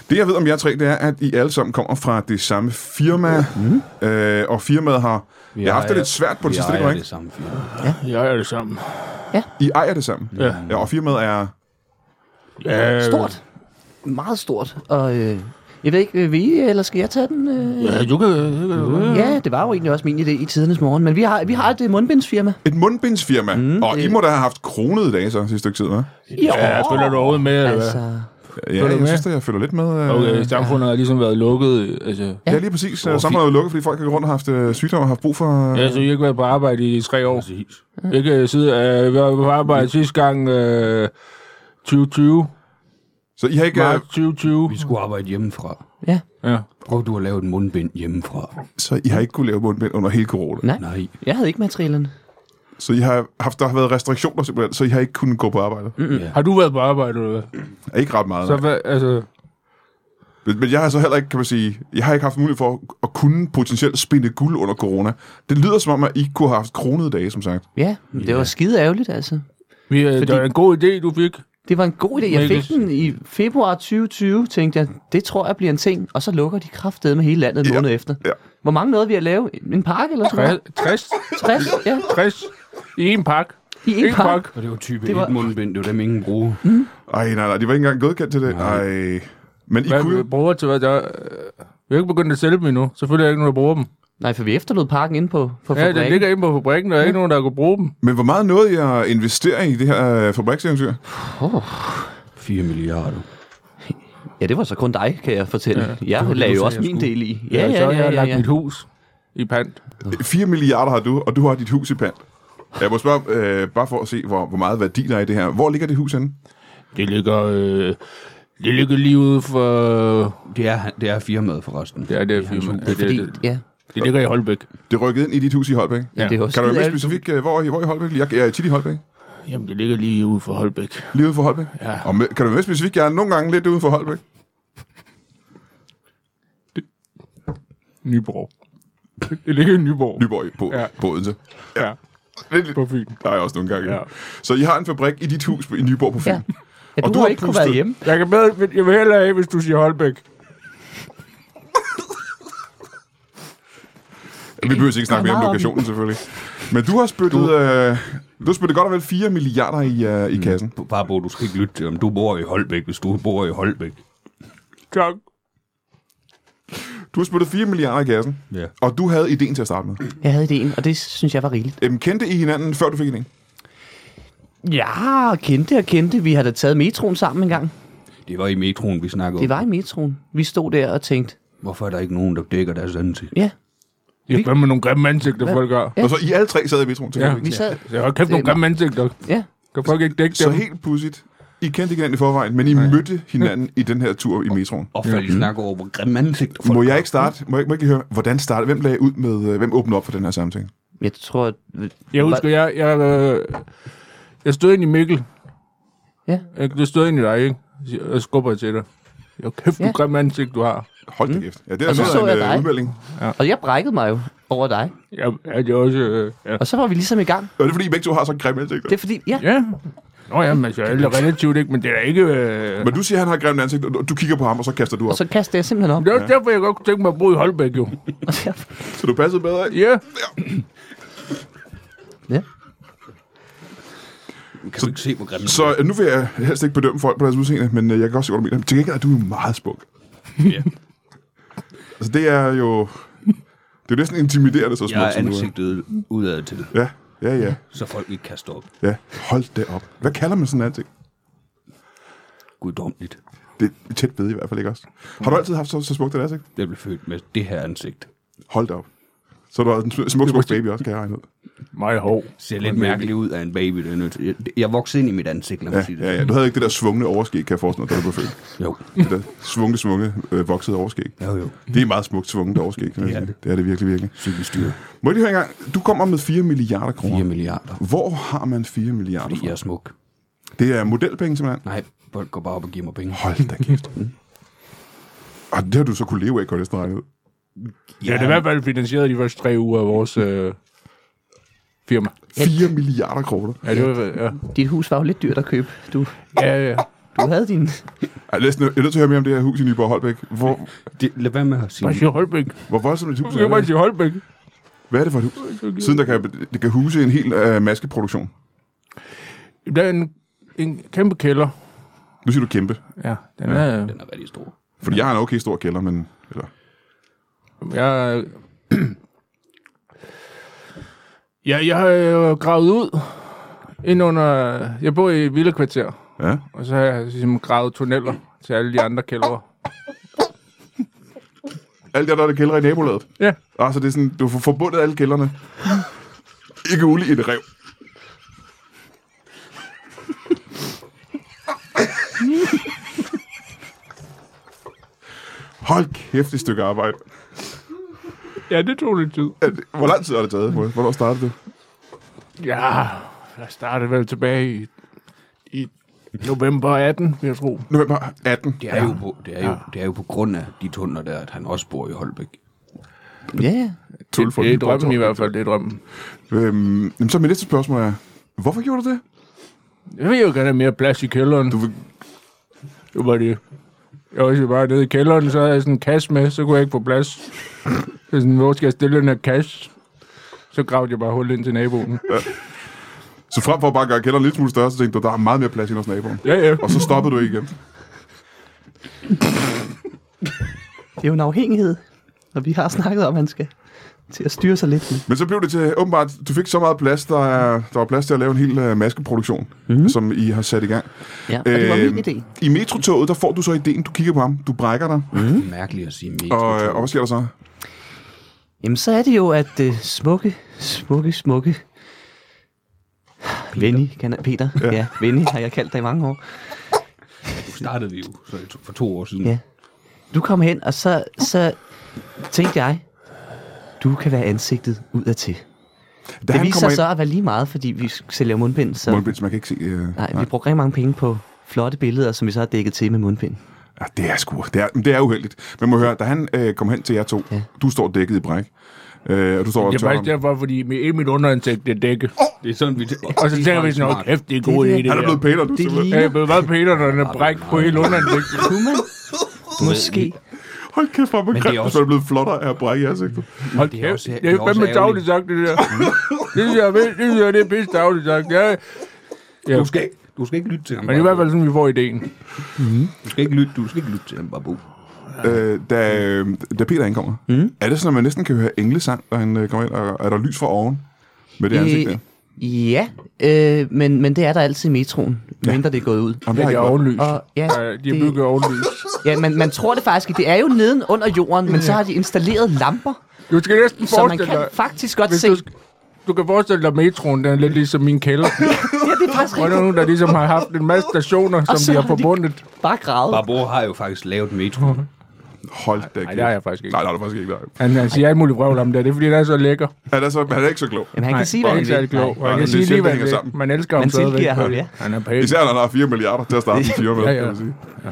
Speaker 1: Det, jeg ved om jer tre, det er, at I alle sammen kommer fra det samme firma. Mm. Øh, og firmaet har... Vi jeg har haft det
Speaker 2: ejer-
Speaker 1: lidt svært på det
Speaker 2: Vi
Speaker 1: sidste, det
Speaker 2: ejer
Speaker 1: går
Speaker 2: det
Speaker 1: ikke?
Speaker 2: samme firma.
Speaker 3: Jeg er det sammen.
Speaker 1: I ejer det sammen.
Speaker 3: Ja.
Speaker 1: ja og firmaet er...
Speaker 3: Øh,
Speaker 4: Stort. Meget stort. Og øh, jeg ved ikke, øh, vil I, eller skal jeg tage den? Øh?
Speaker 3: Ja, du kan... Du kan du kan-
Speaker 4: Ja, det var jo egentlig også min idé i tidernes morgen, men vi har, vi har et øh, mundbindsfirma.
Speaker 1: Et mundbindsfirma. Mm, og I må da have haft kronede dage så sidste stykke tid, hva'?
Speaker 3: Ja, følger du overhovedet med? eller hvad?
Speaker 4: Altså,
Speaker 1: Ja,
Speaker 3: du
Speaker 1: jeg
Speaker 3: med?
Speaker 1: synes, at jeg følger lidt med. øh.
Speaker 3: Okay, samfundet har ligesom været lukket. Altså,
Speaker 1: Ja, lige præcis. Øh, Samfundet er jo lukket, fordi folk har gået rundt og haft øh, sygdomme og haft brug for... øh,
Speaker 3: Ja, så altså, I har ikke været på arbejde i tre år. øh, Præcis. Jeg kan sidde og være på arbejde sidste gang øh, 2020.
Speaker 1: Så I har ikke...
Speaker 3: Mark
Speaker 1: Øh,
Speaker 3: 2020.
Speaker 2: Vi skulle arbejde hjemmefra.
Speaker 4: ja.
Speaker 3: Ja.
Speaker 2: Prøv du at lave et mundbind hjemmefra.
Speaker 1: så I har ikke kunne lave mundbind under hele corona.
Speaker 3: Mm.
Speaker 4: Nej.
Speaker 2: Nej.
Speaker 4: Jeg havde ikke materialerne.
Speaker 1: Så I har haft, der har været restriktioner simpelthen, så I har ikke kunnet gå på arbejde. Mm.
Speaker 3: Har du været på arbejde, eller hvad?
Speaker 1: Ikke ret meget.
Speaker 3: Så
Speaker 1: Så...
Speaker 3: hvad, altså...
Speaker 1: Men, men jeg har så heller ikke, kan man sige... Jeg har ikke haft mulighed for at- at kunne potentielt spinde guld under corona. Det lyder som om, at I kunne have haft kronede dage, som sagt.
Speaker 4: Ja, men det var skide ærgerligt, altså.
Speaker 3: Vi, øh, Det
Speaker 4: Fordi-
Speaker 3: var en god idé, du fik.
Speaker 4: Det var en god idé. Jeg
Speaker 3: Mikkel.
Speaker 4: fik den i februar 2020, tænkte jeg, det tror jeg bliver en ting. Og så lukker de kraftede med hele landet en
Speaker 1: Ja.
Speaker 4: måned efter.
Speaker 1: Ja.
Speaker 4: Hvor mange nåede vi at lave? En pakke eller sådan noget?
Speaker 3: 60,
Speaker 4: 60, ja.
Speaker 3: 60 i en pakke.
Speaker 4: I en
Speaker 3: En
Speaker 4: pakke.
Speaker 3: pakke.
Speaker 2: Og det var type
Speaker 4: Det
Speaker 2: det
Speaker 4: var-
Speaker 2: var... et mundbind, det var dem ingen bruge.
Speaker 1: Ej, nej, nej, de var ikke engang godkendt til det. Nej. Ej. Men I kunne
Speaker 3: Hvad
Speaker 1: jo...
Speaker 3: vi bruger til hvad der... øh, Vi har ikke begyndt at sælge dem endnu. Selvfølgelig er der ikke nogen, der bruger dem.
Speaker 4: Nej, for vi efterlod pakken inde på, på
Speaker 3: Ja, den
Speaker 4: fabrikken.
Speaker 3: ligger inde på fabrikken, og der er ikke nogen, der kunne bruge dem.
Speaker 1: Men hvor meget nåede I at investere i det her øh, fabrikseventyr?
Speaker 2: 4 milliarder.
Speaker 4: Ja, det var så kun dig, kan jeg fortælle. Ja, jeg lagde jo også min del i. Ja,
Speaker 3: så
Speaker 4: ja,
Speaker 3: har
Speaker 4: ja,
Speaker 3: jeg
Speaker 4: ja,
Speaker 3: lagt
Speaker 4: ja.
Speaker 3: mit hus i pant.
Speaker 1: 4 milliarder har du, og du har dit hus i pant. Jeg må spørge, øh, bare for at se, hvor, hvor meget værdi der er i det her. Hvor ligger det hus henne?
Speaker 3: Det ligger... Øh, det ligger lige ude for...
Speaker 2: Det er, han- det er firmaet forresten.
Speaker 3: Ja, det er firma.
Speaker 4: Det er fordi,
Speaker 3: det,
Speaker 4: ja,
Speaker 3: det ligger i Holbæk.
Speaker 1: Det rykkede ind i dit hus i Holbæk.
Speaker 4: ja, det er jo
Speaker 1: Kan du være mere
Speaker 4: skide-
Speaker 1: specifik? øh, Hvor, hvor i Holbæk? Jeg, jeg er tit i Holbæk.
Speaker 3: Jamen, det ligger lige ude for Holbæk.
Speaker 1: Lige ude for Holbæk?
Speaker 3: Ja.
Speaker 1: Og med, kan du være mere specifik? Jeg er nogle gange lidt ude for Holbæk.
Speaker 3: Nyborg. Det ligger i Nyborg.
Speaker 1: Nyborg på, ja.
Speaker 3: Ja.
Speaker 1: på Odense.
Speaker 3: Ja,
Speaker 1: Lidt,
Speaker 3: på Fyn.
Speaker 1: der er jeg også nogle gange. Ja.
Speaker 3: Ja.
Speaker 1: Så I har en fabrik i dit hus i Nyborg på Fyn.
Speaker 4: Ja.
Speaker 1: Ja.
Speaker 4: Ja,
Speaker 1: Og
Speaker 4: du,
Speaker 1: du
Speaker 4: har
Speaker 1: har
Speaker 4: ikke kunne
Speaker 1: pustet.
Speaker 4: være hjemme.
Speaker 3: Jeg, kan med, jeg vil hellere af, hvis du siger Holbæk.
Speaker 1: Vi behøver ikke snakke mere
Speaker 4: Der er
Speaker 1: om
Speaker 4: meget om
Speaker 1: lokationen selvfølgelig. Men du har spyttet, du... Øh, du har spyttet godt og vel 4 milliarder i, øh, i kassen.
Speaker 2: Bare Bo, du skal ikke lytte til om du bor i Holbæk, hvis du bor i Holbæk.
Speaker 3: Tak.
Speaker 1: Du har spyttet 4 milliarder i kassen,
Speaker 2: Ja.
Speaker 1: og du havde ideen til at starte med.
Speaker 4: Jeg havde ideen, og det synes jeg var rigeligt.
Speaker 1: Øhm, kendte I hinanden, før du fik ideen?
Speaker 4: Ja, kendte og kendte. Vi har da taget metroen sammen en gang.
Speaker 2: Det var i metroen, vi snakkede
Speaker 4: Det
Speaker 2: om.
Speaker 4: var i metroen. Vi stod der og tænkte,
Speaker 2: Hvorfor er der ikke nogen, der dækker deres ansigt?
Speaker 4: ja,
Speaker 3: Det er fandme nogle grimme ansigter, folk gør.
Speaker 1: Ja. Og så I alle tre sad i metroen, tænker
Speaker 3: Ja.
Speaker 1: jeg.
Speaker 4: vi sad.
Speaker 3: Jeg har kæft
Speaker 4: Det er
Speaker 3: nogle grimme ansigter.
Speaker 4: Ja,
Speaker 3: Kan folk ikke dække
Speaker 1: Så
Speaker 3: dem?
Speaker 1: helt pudsigt. I kendte ikke hinanden i forvejen, men I mødte hinanden i den her tur i metroen.
Speaker 2: Og før de snakker over, hvor grimme ansigter folk
Speaker 1: Må jeg
Speaker 2: har.
Speaker 1: ikke starte? Må jeg, ikke- må jeg ikke lige høre, hvordan startede? Hvem lagde ud med, øh, hvem åbnede op for den her samtale?
Speaker 4: jeg tror... At,
Speaker 3: Jeg husker, jeg, jeg, øh, jeg stod ind i Mikkel.
Speaker 4: Ja.
Speaker 3: Jeg, du stod ind i dig, ikke? Så Jeg jeg skubber til dig. Jeg kæft,
Speaker 4: Ja.
Speaker 3: ja. grim ansigt, du har.
Speaker 1: Hold
Speaker 2: Mm.
Speaker 1: da kæft. Ja, det er
Speaker 4: Og så
Speaker 1: noget
Speaker 4: så
Speaker 1: af en
Speaker 4: jeg
Speaker 1: øh,
Speaker 4: dig.
Speaker 1: udmelding.
Speaker 4: Og jeg brækkede mig jo over dig.
Speaker 3: Jeg, jeg, jeg også... Øh, ja.
Speaker 4: Og så var vi ligesom i gang.
Speaker 1: Og det er fordi, I begge to har så grimme ansigter.
Speaker 4: Det er fordi, ja,
Speaker 3: ja. Nå ja, men så er det relativt ikke, men det er da ikke... Øh...
Speaker 1: Men du siger, at han har grimme ansigt, og du- du kigger på ham, og så kaster du
Speaker 4: og
Speaker 1: op. Så,
Speaker 4: så kastede jeg simpelthen op.
Speaker 3: Det er også derfor, jeg godt kunne tænke mig at bo i Holbæk, jo.
Speaker 4: Og der-
Speaker 1: så du passede bedre ind.
Speaker 3: Ja.
Speaker 4: Ja.
Speaker 2: Kan du ikke se, hvor grimme
Speaker 1: Så øh, nu vil jeg helst ikke bedømme folk på deres udseende, men øh, jeg kan godt se, hvor du mener. Til gengæld er du jo meget smuk.
Speaker 2: Ja.
Speaker 1: Altså, det er jo... Det er jo næsten intimiderende, så
Speaker 2: Jeg
Speaker 1: smukt
Speaker 2: er
Speaker 1: som du er.
Speaker 2: ansigtet udad til,
Speaker 1: Ja, ja, ja,
Speaker 2: så folk ikke kan stoppe.
Speaker 1: ja. Hold da op. Hvad kalder man sådan en ansigt?
Speaker 2: Guddommeligt.
Speaker 1: Det er tæt ved i hvert fald ikke også. Har du altid haft så, så smukt et ansigt?
Speaker 2: Jeg blev født med det her ansigt.
Speaker 1: Hold da op. Så er du også en smuk, smuk, smuk baby også, kan jeg regne ud.
Speaker 3: Meget hård.
Speaker 2: Ser lidt mærkeligt ud af en baby. Det er nødt til. Jeg- Jeg voksede ind i mit ansigt, lad mig
Speaker 1: Ja,
Speaker 2: sige det.
Speaker 1: ja, ja. Du havde ikke det der svungne overskæg, kan jeg forestille mig, da du blev født.
Speaker 2: Jo.
Speaker 1: Det der svungne, svungne, øh, voksede overskæg.
Speaker 2: Jo, jo.
Speaker 1: Det er meget smukt svunget overskæg. kan man
Speaker 2: Ja.
Speaker 1: sige. Det er det virkelig, virkelig.
Speaker 2: Psykisk dyr.
Speaker 1: Må jeg lige høre en gang? Du kommer med 4 milliarder
Speaker 2: 4
Speaker 1: kroner.
Speaker 2: milliarder.
Speaker 1: Hvor har man 4 milliarder
Speaker 2: Fordi
Speaker 1: fra?
Speaker 2: jeg er smuk.
Speaker 1: Det er modelpenge simpelthen.
Speaker 2: Nej, folk går bare op og giver mig penge.
Speaker 1: Hold da kæft. Og det har du så kunne leve af, kan jeg næsten regne ud.
Speaker 3: Ja, det er i hvert fald finansieret de første tre uger af vores øh, firma.
Speaker 1: 4 milliarder kroner.
Speaker 3: Ja, det var, ja.
Speaker 4: Dit hus var jo lidt dyrt at købe. Du,
Speaker 3: ja, ja.
Speaker 4: du havde din...
Speaker 1: Jeg er, næsten, jeg er nødt til at høre mere om det her hus i Nyborg Holbæk. Hvor,
Speaker 2: Det, lad være med at sige.
Speaker 3: Bare sige Holbæk.
Speaker 1: hvor voldsomt et hus
Speaker 3: Du kan
Speaker 1: er
Speaker 3: bare
Speaker 1: det?
Speaker 3: sige Holbæk.
Speaker 1: Hvad er det for et hus? Siden der kan, det kan huse en hel øh, maskeproduktion.
Speaker 3: Der er en, en kæmpe kælder.
Speaker 1: Nu siger du kæmpe,
Speaker 3: Ja, den er...
Speaker 2: Den er rigtig stor.
Speaker 1: fordi jeg har en okay stor kælder, men... Eller,
Speaker 3: Jeg... ja, jeg har jo gravet ud ind under... Jeg bor i et villakvarter,
Speaker 1: ja.
Speaker 3: og så har jeg ligesom gravet tunneller til alle de andre kældre.
Speaker 1: Alt det, der er der kældre i nabolaget.
Speaker 3: Ja,
Speaker 1: Altså, det er sådan, du får forbundet alle kælderne. Ikke ulig et rev. Hold kæft, et stykke arbejde.
Speaker 3: ja det tog lidt tid.
Speaker 1: Er det- Hvor lang tid har det taget? Hvor- Hvornår startede det?
Speaker 3: Ja, jeg startede vel tilbage i, i november 18, vil jeg tro.
Speaker 1: November 18.
Speaker 2: Det er, jo på, det, er jo, det er jo på grund af de tunneler der, at han også bor i Holbæk.
Speaker 4: Ja, ja.
Speaker 1: Tulle for
Speaker 3: det er
Speaker 1: Nyborg
Speaker 3: drømmen
Speaker 1: Torv.
Speaker 3: i hvert fald, det er drømmen.
Speaker 1: Øhm, jamen, så mit næste spørgsmål er, hvorfor gjorde du det?
Speaker 3: Jeg vil jo gerne have mere plads i kælderen.
Speaker 1: Du
Speaker 3: Du...
Speaker 1: vil
Speaker 3: Det var det. Jeg var jo bare nede i kælderen, så havde jeg sådan en kasse med, så kunne jeg ikke få plads. Så sådan, hvor skal jeg stille den her kasse? Så gravede jeg bare hul ind til naboen.
Speaker 1: Så frem for bare at gøre kælderen lidt smule større, så tænkte du, der er meget mere plads end hos naboen.
Speaker 3: Ja, ja.
Speaker 1: Og så stoppede du igen.
Speaker 4: Det er jo en afhængighed. Og vi har snakket om, at man skal til at styre sig lidt. med.
Speaker 1: Men så blev det til, åbenbart, du fik så meget plads, der, er, der var plads til at lave en hel øh, maskeproduktion, mm-hmm. som I har sat i gang.
Speaker 4: Mhm. Ja, Øh, og det var min
Speaker 1: Øhm,
Speaker 4: idé.
Speaker 1: I metrotoget, der får du så ideen, du kigger på ham, du brækker dig,
Speaker 3: Mhm.
Speaker 1: mm-hmm.
Speaker 2: Det er mærkeligt at sige metro.
Speaker 1: og, øh, og hvad sker der så?
Speaker 4: Jamen, så er det jo, at uh, smukke, smukke, smukke... Venny, kan jeg, Peter. Ja, ja Venny har jeg kaldt dig i mange år.
Speaker 2: Nu startede vi jo så i to- for to år siden.
Speaker 4: Ja. Du kom hen, og så, så tænkte jeg, du kan være ansigtet udadtil.
Speaker 1: Da
Speaker 4: Det viser sig
Speaker 1: ind,
Speaker 4: så at være lige meget, fordi vi sælger mundbind, så
Speaker 1: Mundbind, så man kan ikke se... Øh,
Speaker 4: nej, vi bruger rigtig mange penge på flotte billeder, som vi så har dækket til med mundbind.
Speaker 1: Ja, det er sgu... Det er, men det er uheldigt. Men må høre, da han øh, kom hen til jer to, ja.
Speaker 4: Ja.
Speaker 1: du står dækket i bræk, øh, og du står og
Speaker 3: Det er
Speaker 1: tørrer
Speaker 3: faktisk
Speaker 1: ham.
Speaker 3: derfor, fordi mit, hele mit underansigt det er dækket.
Speaker 2: Det er sådan, vi...
Speaker 3: Og så tænker vi sådan, åh, kæft, det er en god idé, det
Speaker 1: Han er blevet
Speaker 3: der.
Speaker 1: pænere, du.
Speaker 4: Det
Speaker 1: simpelthen.
Speaker 3: Ja,
Speaker 4: ligner
Speaker 3: jeg blev været Peter, når den er bræk på hele underansigtet.
Speaker 4: måske.
Speaker 1: Hold kæft, hvor er man
Speaker 2: det er
Speaker 1: grimt, hvis
Speaker 2: også-
Speaker 1: man er blevet flottere af at brække i ansigtet.
Speaker 3: Hold
Speaker 2: Det er
Speaker 3: kæft,
Speaker 2: også-
Speaker 3: det
Speaker 2: det er
Speaker 3: er jo fandme
Speaker 2: også
Speaker 3: dagligt sagt, det der. Det synes jeg, det synes jeg, det er pisse dagligt sagt. Ja,
Speaker 2: Du skal, du skal ikke lytte til ham.
Speaker 3: men det er i hvert fald sådan, vi får ideen.
Speaker 2: Du skal ikke lytte, du skal ikke lytte til ham, Babu.
Speaker 1: øh, da, øh, da Peter ankommer. Mm. Er det sådan, at man næsten kan høre englesang, når han øh, kommer ind, og er der lys fra oven med det ansigt der?
Speaker 4: ja, øh, men, men det er der altid i metroen, mindre det er gået ud.
Speaker 1: Jamen, det
Speaker 3: Ja,
Speaker 1: har
Speaker 3: de
Speaker 1: jeg
Speaker 3: er
Speaker 1: ikke
Speaker 3: ovenlys.
Speaker 4: Og, ja,
Speaker 3: Øh, De har bygget ovenlys.
Speaker 4: ja man, man tror det faktisk ikke. Det er jo neden under jorden, men så har de installeret lamper,
Speaker 3: Du skal næsten
Speaker 4: så man
Speaker 3: forestille
Speaker 4: kan
Speaker 3: dig...
Speaker 4: faktisk godt
Speaker 3: Hvis
Speaker 4: se.
Speaker 3: du, du kan forestille dig, at metroen den er lidt ligesom min kælder.
Speaker 4: Ja, det er faktisk
Speaker 3: Hvor er der
Speaker 4: rigtigt.
Speaker 3: nogen, der ligesom har haft en masse stationer, som
Speaker 4: så
Speaker 3: de har
Speaker 4: har de-
Speaker 3: forbundet.
Speaker 4: Bare græde.
Speaker 2: Barbo har jo faktisk lavet metro.
Speaker 1: Hold da
Speaker 3: Nej, det har jeg faktisk ikke.
Speaker 1: Nej, det har du faktisk ikke. Nej.
Speaker 3: Han, han siger alt muligt vrøvl om det, og det er fordi, han er så lækker.
Speaker 1: Han er, så, han er ikke så klog.
Speaker 4: Jamen, han
Speaker 3: Nej,
Speaker 4: kan sige, hvad
Speaker 3: han er
Speaker 4: han
Speaker 3: ikke særlig
Speaker 4: vil.
Speaker 3: klog.
Speaker 4: Nej.
Speaker 3: Og han
Speaker 1: det er
Speaker 3: kan sige
Speaker 1: sjældent,
Speaker 3: lige, hvad
Speaker 1: det
Speaker 3: han
Speaker 1: hænger
Speaker 3: vil.
Speaker 1: sammen.
Speaker 3: Man elsker ham
Speaker 4: Man
Speaker 3: stadigvæk.
Speaker 4: tilgiver ham, ja.
Speaker 3: Han er pæn.
Speaker 1: Især når han har 4 milliarder til at starte en firma, ja,
Speaker 3: Ja, ja.
Speaker 1: ja. kan man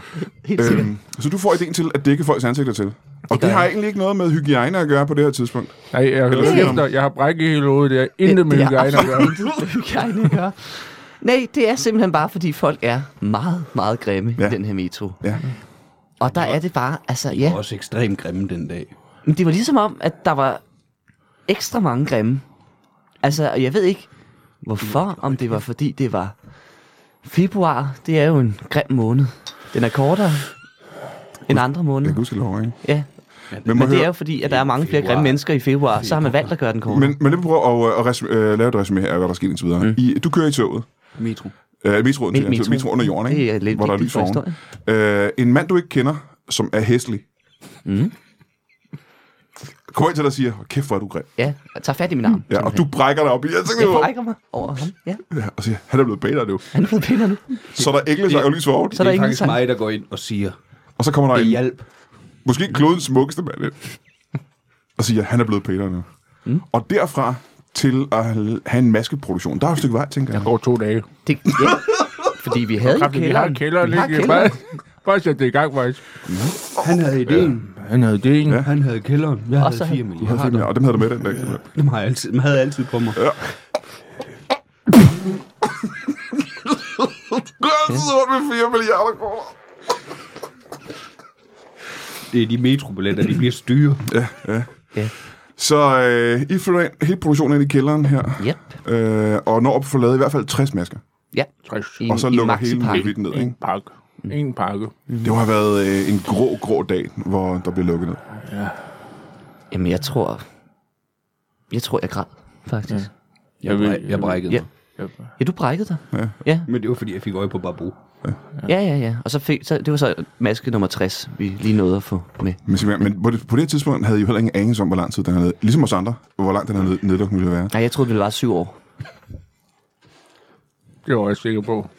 Speaker 1: sige.
Speaker 4: Helt sikkert.
Speaker 1: Øhm, så du får ideen til at dække folks ansigter til. Og det har egentlig ikke noget med hygiejne at gøre på det her tidspunkt.
Speaker 3: Nej, jeg,
Speaker 1: Eller
Speaker 3: jeg,
Speaker 1: siger
Speaker 3: efter, jeg har brækket hele hovedet. Det er
Speaker 4: Det-
Speaker 3: Øh, intet med
Speaker 4: det har
Speaker 3: hygiejne at gøre.
Speaker 4: absolut intet med hygiejne at gøre. Nej, det er simpelthen bare, fordi folk er meget, meget grimme ja.
Speaker 1: Ja.
Speaker 4: i den her metro.
Speaker 1: Ja.
Speaker 4: Og der er det bare, altså ja,
Speaker 2: Også ekstremt grimme den dag.
Speaker 4: men det var ligesom om, at der var ekstra mange grimme. Altså, og jeg ved ikke, hvorfor, om det var fordi det var februar, det er jo en grim måned. Den er kortere end andre
Speaker 1: Jeg
Speaker 4: måneder,
Speaker 1: kan huske lov, ikke?
Speaker 4: ja.
Speaker 1: Men, må
Speaker 4: Men det er
Speaker 1: høre,
Speaker 4: jo fordi, at der er mange flere
Speaker 2: Februar.
Speaker 4: grimme mennesker i februar, så har man valgt at gøre den kortere.
Speaker 1: men, men det prøver at, at resum- øh, lave et resume her, af, hvad der skete indtil videre. Mm. I, du kører i toget.
Speaker 2: Metro.
Speaker 1: Øh, metroen,
Speaker 4: Met-
Speaker 1: til, metro.
Speaker 4: metro.
Speaker 1: metro under jorden, ikke?
Speaker 4: Det er lidt
Speaker 1: Hvor der er
Speaker 4: vigtigt
Speaker 1: lys
Speaker 4: for
Speaker 1: foran. Øh, en mand, du ikke kender, som er hæslig. Mm. Kommer ind til dig og siger, "Hold kæft, hvor er du grim.
Speaker 4: Ja, jeg tager fat i min arm.
Speaker 1: Ja, og du brækker dig op i ansigtet.
Speaker 4: Jeg
Speaker 1: på ham.
Speaker 4: brækker mig over ham. Ja,
Speaker 1: Ja, og siger, han er blevet bedre nu.
Speaker 4: han er blevet pænder nu.
Speaker 1: Så er der englesang og lys foran.
Speaker 4: Så
Speaker 2: Det
Speaker 4: er der
Speaker 2: er
Speaker 4: ingen
Speaker 2: faktisk
Speaker 4: sang.
Speaker 2: mig, der går ind og siger,
Speaker 1: Og så kommer der
Speaker 2: det
Speaker 1: en,
Speaker 2: hjælp.
Speaker 1: måske klodens smukkeste mand ind, og siger, han er blevet pænere nu. Mm. Og derfra til at have en maskeproduktion. Der er jo et stykke vej, tænker jeg.
Speaker 3: går to dage.
Speaker 4: Det, ja. Fordi vi havde jo
Speaker 3: Kræften, vi har
Speaker 4: kælderen.
Speaker 3: kælderen.
Speaker 4: Vi har
Speaker 3: ikke?
Speaker 4: kælderen.
Speaker 3: Bare, bare sæt det i gang, faktisk.
Speaker 2: Han havde ideen.
Speaker 3: Han havde det, ikke?
Speaker 1: Ja.
Speaker 2: Han havde kælderen. Jeg
Speaker 4: Og
Speaker 2: havde
Speaker 4: så havde-
Speaker 2: 4 milliarder.
Speaker 1: Ja, og dem havde du med den dag.
Speaker 2: Dem har jeg altid, dem havde jeg altid på mig.
Speaker 1: Jeg sidder rundt med 4 milliarder kroner.
Speaker 2: Det er de metrobilletter, de bliver styre.
Speaker 1: Så øh, I flytter ind, hele produktionen ind i kælderen her,
Speaker 4: Yep.
Speaker 1: øh, og når at få lavet i hvert fald 60 masker.
Speaker 4: Ja.
Speaker 3: 60.
Speaker 4: I,
Speaker 1: Og så
Speaker 4: i Mm-hmm.
Speaker 1: lukker
Speaker 4: Maxi
Speaker 1: hele
Speaker 4: Park.
Speaker 1: muligheden ned. Ikke?
Speaker 3: En pakke. En pakke.
Speaker 1: Det har været øh, en grå, grå dag, hvor der blev lukket ned.
Speaker 4: Jamen, jeg tror... Jeg tror, jeg græd, faktisk. Ja,
Speaker 2: Jeg, bræ- jeg brækkede
Speaker 4: Ja.
Speaker 2: mig.
Speaker 4: ja du brækkede dig. Ja. Ja.
Speaker 2: Men det var, fordi jeg fik øje på Barbo.
Speaker 4: ja, ja, ja. Og så, fik, så det var så maske nummer 60, vi lige nåede at få med.
Speaker 1: Men, simpelthen- men på, det, på det her tidspunkt havde I jo heller ingen anelse om, hvor lang tid den havde Ligesom os andre, hvor lang den her ned- nedlukning ville være.
Speaker 4: Nej, jeg troede, det var syv år.
Speaker 3: Det var jeg sikker på.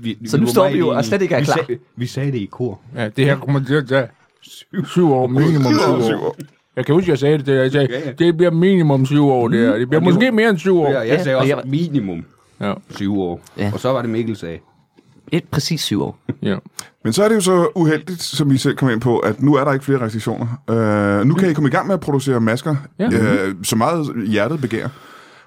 Speaker 2: Vi,
Speaker 4: Så nu
Speaker 2: var
Speaker 4: står
Speaker 2: meget
Speaker 4: vi jo
Speaker 2: enige.
Speaker 4: og slet ikke er
Speaker 2: vi
Speaker 4: klar.
Speaker 2: Sag, vi sagde det i kor.
Speaker 3: Ja, det her kommer til at tage syv, syv år. Minimum syv år. Jeg kan huske, jeg sagde det til dig. Jeg sagde,
Speaker 2: Ja, ja.
Speaker 3: det bliver minimum syv år, det her. Det bliver
Speaker 2: Og det
Speaker 3: måske
Speaker 2: var-
Speaker 3: mere end syv år.
Speaker 2: Ja, jeg sagde
Speaker 4: og
Speaker 2: også
Speaker 4: jeg-
Speaker 2: minimum
Speaker 3: Ja,
Speaker 2: 20 år.
Speaker 4: Ja.
Speaker 2: Og så var det Mikkel sagde.
Speaker 4: Et præcis syv år.
Speaker 3: ja.
Speaker 1: Men så er det jo så uheldigt, som I selv kom ind på, at nu er der ikke flere restriktioner. Øh, nu kan I komme i gang med at producere masker,
Speaker 3: Ja. Mhm.
Speaker 1: øh, så meget hjertet begærer.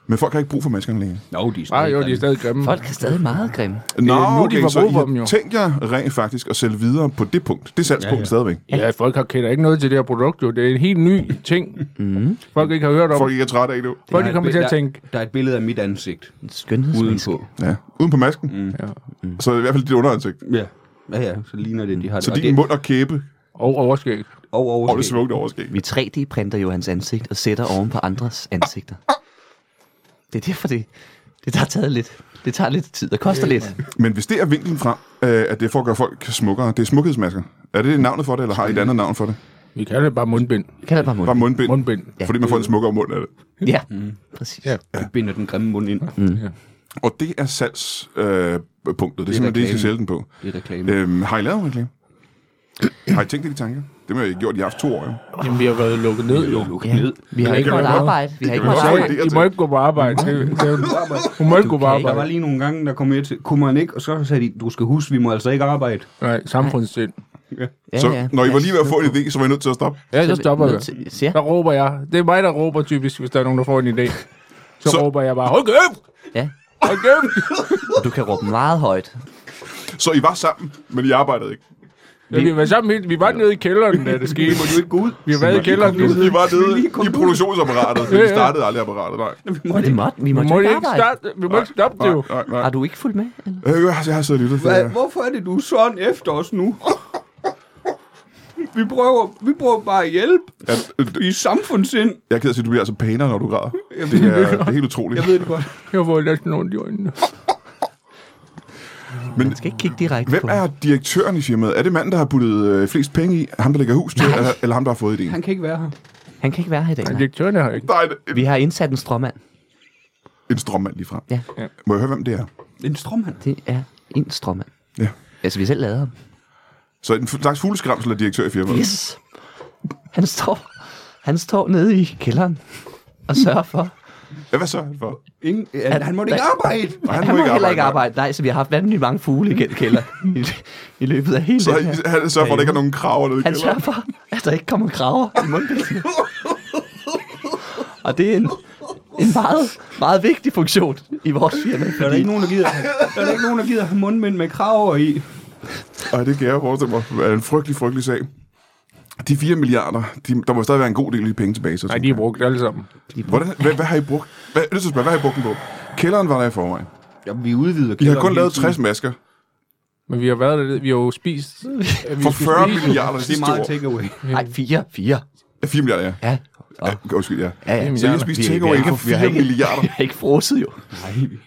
Speaker 1: Men folk har ikke brug for maskerne længere.
Speaker 2: Nå, de er
Speaker 3: Nej,
Speaker 2: stadig
Speaker 3: Ah, jo, de er
Speaker 2: grimme.
Speaker 3: stadig grimme.
Speaker 4: Folk er stadig meget grimme.
Speaker 1: Nå,
Speaker 3: nu, de får
Speaker 1: så
Speaker 3: brug
Speaker 1: I
Speaker 3: for
Speaker 1: har
Speaker 3: dem jo.
Speaker 1: tænkt jer rent faktisk at sælge videre på det punkt. Det er salgspunktet ja, ja. stadigvæk.
Speaker 3: Ja, folk har kender ikke noget til det her produkt, jo. Det er en helt ny ting, mm. folk ikke har hørt om.
Speaker 1: Folk ikke er trætte af det.
Speaker 3: Folk
Speaker 2: Der er
Speaker 3: de
Speaker 2: et
Speaker 3: kommer
Speaker 2: bi-
Speaker 3: til at
Speaker 2: der-
Speaker 3: tænke,
Speaker 2: Der er et billede af mit ansigt
Speaker 4: En skønhedsmaske.
Speaker 2: udenpå.
Speaker 1: Ja. Uden på masken. Mm.
Speaker 3: Ja.
Speaker 1: Så er det i hvert fald dit underansigt.
Speaker 2: Ja. Ja, ja, så ligner det, de har det.
Speaker 1: Så
Speaker 2: Og
Speaker 1: din
Speaker 2: det,
Speaker 1: mund og kæbe
Speaker 3: og overskæg.
Speaker 2: og over
Speaker 1: og det smukt overskæg.
Speaker 4: Vi 3D-printer jo hans ansigt og sætter oven på andres ansigter. Det er derfor, det, det tager taget lidt. Det tager lidt tid og koster lidt.
Speaker 1: Men hvis det er vinklen frem, øh, at det er for at gøre folk smukkere, det er smukhedsmasker. Er det navnet for det, eller har I et andet navn for det?
Speaker 3: Vi kalder det bare mundbind.
Speaker 4: Kan det bare mund?
Speaker 1: Bare mundbind.
Speaker 3: Mundbind.
Speaker 1: Ja. Fordi man får en smukkere mund af det.
Speaker 4: Ja,
Speaker 1: Mm.
Speaker 4: præcis.
Speaker 3: Ja.
Speaker 2: Vi binder den grimme mund ind. Mm.
Speaker 1: Og det er salgspunktet. Øh, punktet. det er
Speaker 2: Det er
Speaker 1: simpelthen det, I skal
Speaker 2: reklame.
Speaker 1: sælge den på.
Speaker 2: Det er reklame.
Speaker 1: Øhm, har I lavet en reklame? har I tænkt det i tanker? Det har I gjort i haft to år, jo.
Speaker 3: Jamen, vi har været lukket ned, jo.
Speaker 2: Lukket
Speaker 4: Ja.
Speaker 2: ned.
Speaker 4: Vi har
Speaker 3: Det
Speaker 4: ikke
Speaker 3: kan
Speaker 4: måttet
Speaker 3: vi godt.
Speaker 4: arbejde. Vi har ikke
Speaker 1: vi
Speaker 4: måttet
Speaker 1: godt.
Speaker 4: arbejde.
Speaker 1: det altså. Mm. er
Speaker 3: Så, I må ikke gå på arbejde. Det, det, er jo- hun må ikke gå på
Speaker 2: Der var
Speaker 3: arbejde.
Speaker 2: lige nogle gange, der kom jeg til, kunne man ikke, og så sagde de, du skal huske, vi må altså ikke arbejde.
Speaker 3: Nej, samfundssind.
Speaker 4: Ja,
Speaker 1: Så
Speaker 4: ja.
Speaker 1: når I var lige ved at få en idé, så var I nødt til at stoppe.
Speaker 3: Ja, så
Speaker 4: vi
Speaker 3: stopper
Speaker 4: nødt
Speaker 3: jeg.
Speaker 4: til- Ja,
Speaker 3: Der råber jeg. Det er mig, der råber typisk, hvis der er nogen, der får en idé. Så,
Speaker 1: Så-
Speaker 3: så råber jeg bare, hold kæft!
Speaker 4: ja.
Speaker 3: Hold kæft!
Speaker 4: Og du kan råbe meget højt.
Speaker 1: Så I var sammen, men I arbejdede ikke.
Speaker 3: Ja, vi var sammen helt, vi var nede i kælderen, da det skete.
Speaker 2: Vi må jo ikke gå ud.
Speaker 3: Vi har været i kælderen lige
Speaker 1: I
Speaker 3: siden.
Speaker 1: var nede i produktionsapparatet, men
Speaker 3: Ja,
Speaker 1: I
Speaker 3: ja.
Speaker 1: startede aldrig apparatet, nej.
Speaker 4: Men det måtte, vi
Speaker 3: Vi
Speaker 4: måtte,
Speaker 3: må
Speaker 4: ikke
Speaker 3: ikke
Speaker 4: arbejde.
Speaker 3: starte, vi må ikke stoppe det jo.
Speaker 1: Nej, nej.
Speaker 4: Har du ikke fulgt med? Eller?
Speaker 1: Øh, jeg har siddet og lyttet. for
Speaker 2: Hva,
Speaker 1: jer.
Speaker 2: hvorfor er det, du er sådan efter os nu? vi prøver, vi prøver bare at hjælpe
Speaker 1: At, øh,
Speaker 2: i samfundssind.
Speaker 1: jeg er ked af at sige, at du bliver altså pænere, når du græder. Det er, det er helt utroligt.
Speaker 2: Jeg ved det godt.
Speaker 3: Jeg får næsten ondt i øjnene.
Speaker 1: Men
Speaker 4: skal ikke kigge direkte
Speaker 1: hvem
Speaker 4: på
Speaker 1: er direktøren i firmaet? Er det manden, der har puttet øh, flest penge i? Ham, der lægger hus til? Eller, eller ham, der har fået idéen?
Speaker 2: Han kan ikke være her.
Speaker 4: Han kan ikke være her i dag.
Speaker 3: Men
Speaker 4: Nej.
Speaker 3: Direktøren har ikke.
Speaker 1: Nej, en,
Speaker 4: Vi har indsat en stråmand.
Speaker 1: en strømmand lige frem.
Speaker 4: Ja.
Speaker 3: Ja.
Speaker 1: Må jeg høre, hvem det er?
Speaker 2: En strømhand.
Speaker 4: Det er en stråmand.
Speaker 1: Ja.
Speaker 4: Altså, vi har selv lavet ham.
Speaker 1: Så en fu- slags fugleskramsel er direktør i firmaet.
Speaker 4: Yes. Han står, han står nede i kælderen og sørger for...
Speaker 1: Ja, hvad så er han for?
Speaker 2: Ingen, han, han måtte ikke arbejde.
Speaker 1: Og
Speaker 4: Han, han må, må heller ikke arbejde. Nej, så vi har haft vanvittigt mange fugle i den kælder i, i løbet af hele
Speaker 1: Så
Speaker 4: den her.
Speaker 1: han, han sørger for, at der ikke er nogen kraver nede i
Speaker 4: Han sørger
Speaker 1: kælderen.
Speaker 4: for, at der ikke kommer kraver i mundbindene. Og det er en, en meget, meget vigtig funktion i vores firma.
Speaker 2: Der er der ikke nogen, der gider, der er der ikke nogen, der gider have mundmænd med kraver i.
Speaker 1: Ej, det kan jeg forestille mig. Det er en frygtelig, frygtelig sag. De 4 milliarder, de, der må stadig være en god del af de penge tilbage. Så
Speaker 3: Nej, de er brugt alle sammen.
Speaker 1: Hvordan, hvad, hvad, har I brugt? Hvad, jeg er nødt til at spørge, hvad har I brugt dem på? Kælderen var der i forvejen.
Speaker 2: Ja, vi udvider
Speaker 1: I har
Speaker 2: kælderen
Speaker 1: kun
Speaker 2: hele
Speaker 1: lavet
Speaker 2: tiden.
Speaker 1: 60 masker
Speaker 3: Men vi har været der, vi har jo spist...
Speaker 1: for 40 milliarder de
Speaker 2: Det er
Speaker 1: sidste
Speaker 2: meget
Speaker 1: år.
Speaker 2: takeaway.
Speaker 4: Nej, fire. Fire.
Speaker 1: Ja, 4 milliarder, ja.
Speaker 4: Ja. Og,
Speaker 1: ja okay, undskyld, ja.
Speaker 4: ja, ja.
Speaker 1: Så I har spist takeaway for 4 milliarder.
Speaker 4: Vi har ikke frosset jo.
Speaker 2: Nej, vi,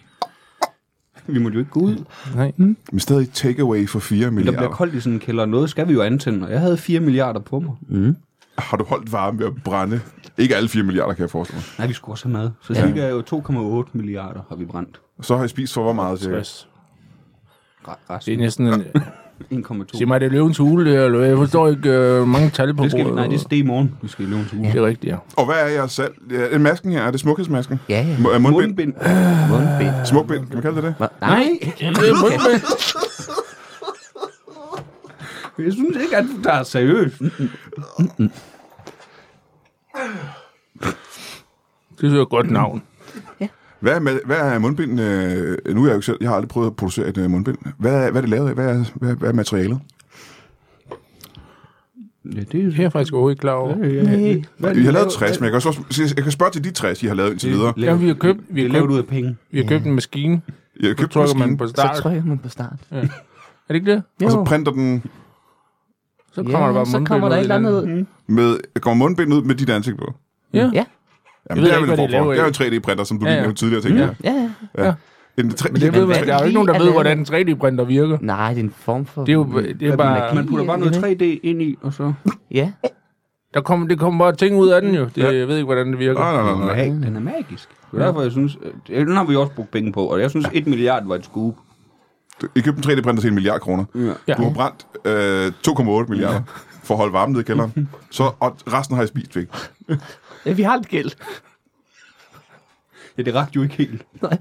Speaker 2: vi må jo ikke gå ud.
Speaker 3: Nej.
Speaker 1: Men stadig takeaway for 4
Speaker 2: Der bliver
Speaker 1: milliarder.
Speaker 2: koldt i sådan en kælder, og noget skal vi jo antænde, og jeg havde 4 milliarder på mig.
Speaker 1: Har du holdt varme ved at brænde? Ikke alle 4 milliarder, kan jeg forestille mig.
Speaker 2: Nej, vi skulle også have mad. Så cirka jo 2,8 milliarder har vi brændt.
Speaker 1: Så har I spist for hvor meget? Til?
Speaker 2: Re-
Speaker 3: Det er
Speaker 2: Resten
Speaker 3: næsten en...
Speaker 2: 1,2.
Speaker 3: Sig mig, det er løvens hule, det her, eller hvad? jeg forstår ikke øh, mange tal på
Speaker 2: Det skal vi,
Speaker 3: bordet.
Speaker 2: nej, det er det i morgen. Vi skal i løbens uge.
Speaker 3: det er rigtigt, ja.
Speaker 1: Og hvad er jeres salg? Ja, masken her, er det smukhedsmasken?
Speaker 4: Ja, ja.
Speaker 1: M- er mundbind?
Speaker 2: Mundbind.
Speaker 4: Mundbind.
Speaker 1: Smukbind, kan man kalde det det?
Speaker 4: Hva? Nej.
Speaker 2: Jeg synes ikke, at du tager seriøst.
Speaker 3: Det er et godt navn.
Speaker 1: Hvad er, med, hvad er mundbind? Øh, nu er jeg jo ikke selv, jeg har aldrig prøvet at producere et øh, mundbind. Hvad er, hvad er det lavet af? Hvad er, hvad, hvad er materialet?
Speaker 2: Ja, det er
Speaker 3: Det er jeg faktisk overhovedet ikke klar over.
Speaker 2: Nej. Hvad er
Speaker 1: Vi har lavet
Speaker 2: lavet-
Speaker 1: 60, men jeg kan, også, sige- jeg kan spørge til de 60, I har lavet indtil videre.
Speaker 3: Ja, vi har købt, vi
Speaker 2: Det
Speaker 3: har
Speaker 2: er lavet
Speaker 3: købt,
Speaker 2: ud af penge.
Speaker 3: vi har købt en maskine.
Speaker 1: Jeg har
Speaker 3: Så
Speaker 1: købt en
Speaker 3: trykker man
Speaker 1: maskine,
Speaker 3: på
Speaker 4: Så
Speaker 3: start.
Speaker 4: trykker man på start.
Speaker 3: Er det ikke det?
Speaker 1: og så
Speaker 4: Jo.
Speaker 1: printer den
Speaker 3: Så kommer der bare
Speaker 4: så kommer
Speaker 3: mundbind
Speaker 4: der
Speaker 3: ud
Speaker 4: et
Speaker 3: i
Speaker 4: eller andet
Speaker 3: den.
Speaker 4: ud.
Speaker 1: med, kommer mundbind ud med dit ansigt på.
Speaker 3: Ja.
Speaker 4: Ja,
Speaker 1: Jamen,
Speaker 3: ved
Speaker 1: det er vel
Speaker 3: ikke,
Speaker 1: en
Speaker 3: hvad
Speaker 1: form
Speaker 3: de
Speaker 1: for.
Speaker 3: laver
Speaker 1: Det er jo
Speaker 3: af.
Speaker 1: en 3D-printer, som du
Speaker 3: Ja,
Speaker 1: lige
Speaker 3: ja.
Speaker 1: nævnte tidligere, tænker jeg.
Speaker 4: ja, ja.
Speaker 1: En 3D
Speaker 3: Men det ved, man-
Speaker 4: Men
Speaker 3: der er jo ikke
Speaker 4: lige
Speaker 3: nogen, der ved,
Speaker 4: at lave-
Speaker 3: hvordan en 3D-printer virker.
Speaker 4: Nej, det er en form for...
Speaker 3: Det er jo det er bare...
Speaker 2: Man putter bare noget 3D ind i, og så...
Speaker 4: Ja.
Speaker 3: Der kommer, det kommer bare ting ud af den jo. Det, Jeg ved ikke, hvordan det virker.
Speaker 1: Nej, nej, nej, nej.
Speaker 2: Nej, den er magisk. Det er derfor, jeg synes... øh, Den har vi også brugt penge på, og jeg synes, 1 milliard var et skub.
Speaker 1: I købte en 3D-printer til en milliard kroner.
Speaker 3: Ja.
Speaker 1: Du har brændt øh, 2,8 milliarder for at holde varmen nede i kælderen. Så, og resten har jeg spist væk.
Speaker 4: Ja, vi har lidt gæld.
Speaker 2: Ja, det rakte jo ikke helt.
Speaker 4: Nej.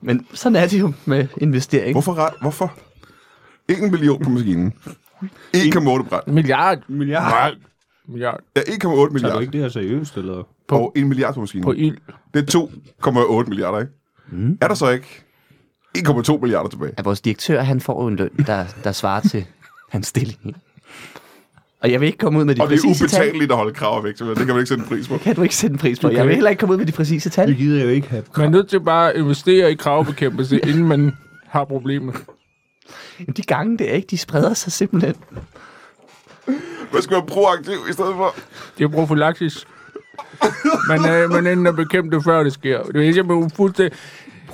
Speaker 4: Men sådan er det jo med investering.
Speaker 1: Hvorfor? re- Hvorfor? 1 million på maskinen. 1,8 brændt.
Speaker 3: En Milliard.
Speaker 2: En milliard.
Speaker 3: Milliard.
Speaker 1: Ja, 1,8
Speaker 2: Tager du
Speaker 1: milliarder.
Speaker 2: ikke det her seriøst, eller?
Speaker 1: Og 1 milliard på maskinen.
Speaker 3: På ild.
Speaker 1: Det er 2,8 milliarder, ikke? Mm. Er der så ikke 1,2 milliarder tilbage?
Speaker 4: At vores direktør, han får jo en løn, der, der svarer til hans stilling. Og jeg vil ikke komme ud med de
Speaker 1: Og det er
Speaker 4: præcise tal.
Speaker 1: ubetaleligt at holde krav væk, så det kan man ikke sætte en pris på.
Speaker 4: Kan du ikke sætte en pris på? Jeg
Speaker 3: kan
Speaker 4: vil
Speaker 3: ikke.
Speaker 4: heller ikke komme ud med de præcise tal.
Speaker 2: Det gider jeg jo ikke have.
Speaker 3: Man er nødt til bare at investere i kravbekæmpelse, inden man har problemer.
Speaker 4: Jamen, De gange der, ikke? De spreder sig simpelthen.
Speaker 1: Man skal være proaktiv i stedet for.
Speaker 3: Det er profylaktisk. Man er, man er inde og bekæmpe det, før det sker. Det er simpelthen fuldstændig...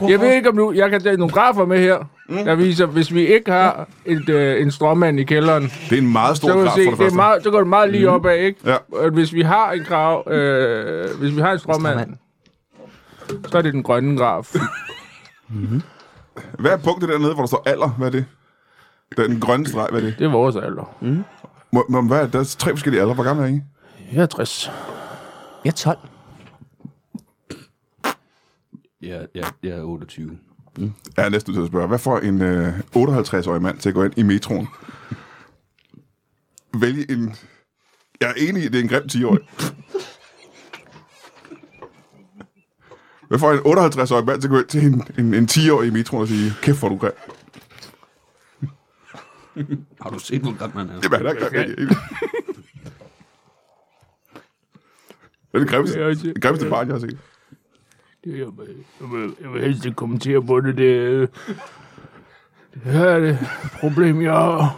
Speaker 3: Jeg ved ikke, om du... Jeg kan tage nogle grafer med her,
Speaker 1: Mm.
Speaker 3: der viser, hvis vi ikke har et, øh, en strømmand i kælderen,
Speaker 1: Det er en meget stor
Speaker 3: så, kan
Speaker 1: graf
Speaker 3: du
Speaker 1: for
Speaker 3: se,
Speaker 1: det
Speaker 3: det er
Speaker 1: første. Mm.
Speaker 3: meget, så går det meget lige opad, ikke?
Speaker 1: Ja.
Speaker 3: Og hvis vi har en grav... Øh, hvis vi har en strømmand, så er det den grønne graf.
Speaker 1: Hvad er punktet dernede, hvor der står alder? Hvad er det? Den grønne streg, hvad er det?
Speaker 3: Det er vores alder.
Speaker 1: Mm. Må, må, hvad er det? Der er tre forskellige aldre. Hvor gammel er I?
Speaker 3: Jeg er 60.
Speaker 4: Jeg er 12.
Speaker 2: Ja, ja, jeg er 28.
Speaker 1: Jeg er næsten nødt til at spørge. Hvad får en øh, 58-årig mand til at gå ind i metroen? Vælge en... Jeg er enig i, at det er en grim 10-årig. Hvad får en 58-årig mand til at gå ind til en, en, en 10-årig i metroen og sige, kæft hvor er du grim.
Speaker 2: Har du set, hvor grim man er?
Speaker 1: Jamen, han er grim. jeg er enig. Det er det grimmeste, det grimmeste barn, jeg har set.
Speaker 3: Det, jeg, vil, jeg, vil, jeg vil helst ikke kommentere på det. Det, øh, det her er det problem, jeg har.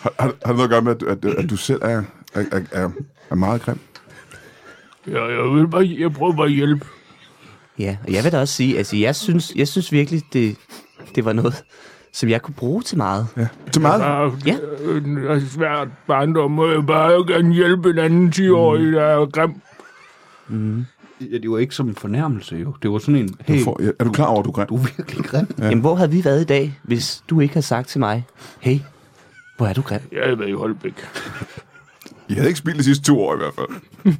Speaker 1: Har, har, har det noget at gøre med, at, at, at du selv er, er, er- er, er meget grim?
Speaker 3: Ja, jeg, vil bare, jeg prøver bare at hjælpe.
Speaker 5: Ja, og jeg vil da også sige, altså jeg synes, jeg synes virkelig, det, det var noget, som jeg kunne bruge til meget.
Speaker 1: Ja. Til meget?
Speaker 5: Ja.
Speaker 3: Det er svært barndom, og jeg bare gerne hjælpe en anden 10-årig, der er grim.
Speaker 2: Ja, det var ikke som en fornærmelse, jo. Det var sådan en, hey,
Speaker 1: Du får, ja, er du klar over, at du er grim?
Speaker 2: du er virkelig grim.
Speaker 5: Ja. Jamen, hvor havde vi været i dag, hvis du ikke havde sagt til mig, hey, hvor er du grim?
Speaker 3: Jeg havde været i Holbæk.
Speaker 1: I havde ikke spildt de sidste to år i hvert fald.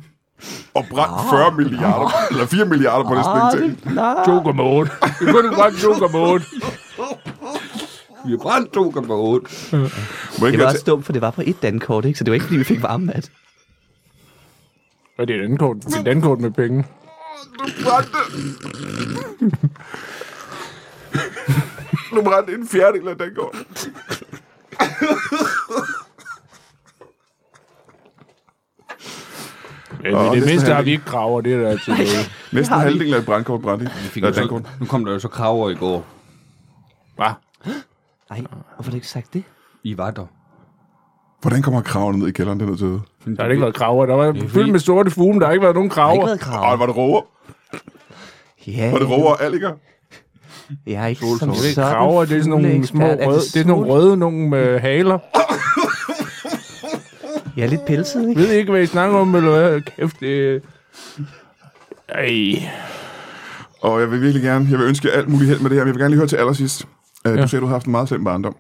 Speaker 1: Og brændt 40 milliarder, eller 4 milliarder
Speaker 4: Ah,
Speaker 1: på næsten ingenting.
Speaker 3: 2,8. Det kunne du godt 2,8.
Speaker 2: Vi har brændt 2,8.
Speaker 1: Må
Speaker 5: Det
Speaker 1: jeg ikke
Speaker 5: var
Speaker 1: have
Speaker 5: også dumt, for det var på et dankort, ikke? Så det var ikke, fordi vi fik varme at.
Speaker 3: Og det er et dankort. Det er et dankort med penge.
Speaker 1: ta- brændte... du brændte en fjerdedel af den går.
Speaker 3: Men i det mindste har vi ikke graver, det er der til noget.
Speaker 1: Næsten halvdelen af et brandkort brændte.
Speaker 2: Fik
Speaker 1: Ja,
Speaker 2: jo så-
Speaker 1: dankort.
Speaker 2: nu kom der jo så kraver i går.
Speaker 3: Hva?
Speaker 5: Nej, hvorfor har du ikke sagt det?
Speaker 2: I var der.
Speaker 1: Hvordan kommer kravene ned i kælderen, det er nødt til at vide.
Speaker 3: Der har ikke været kraver. Der var fyldt med sorte fume. Der har ikke været nogen
Speaker 5: Jeg har ikke
Speaker 3: kraver.
Speaker 5: været krav.
Speaker 1: Ej, var det roer?
Speaker 5: Ja,
Speaker 1: Var det roer og allinger?
Speaker 5: jeg er ikke som
Speaker 3: Det er
Speaker 5: sådan
Speaker 3: kraver, det er sådan nogle små
Speaker 5: fugleekspert.
Speaker 3: røde, det er sådan nogle
Speaker 5: sort?
Speaker 3: røde nogle med haler.
Speaker 5: Jeg er lidt pelset, ikke?
Speaker 3: Jeg ved ikke, hvad I snakker om, eller hvad? Kæft, det... Ej.
Speaker 1: Og jeg vil virkelig gerne, jeg vil ønske jer alt muligt held med det her, men jeg vil gerne lige høre til allersidst. Uh, Du
Speaker 3: Ja.
Speaker 1: sagde, du har haft en meget slem barndom.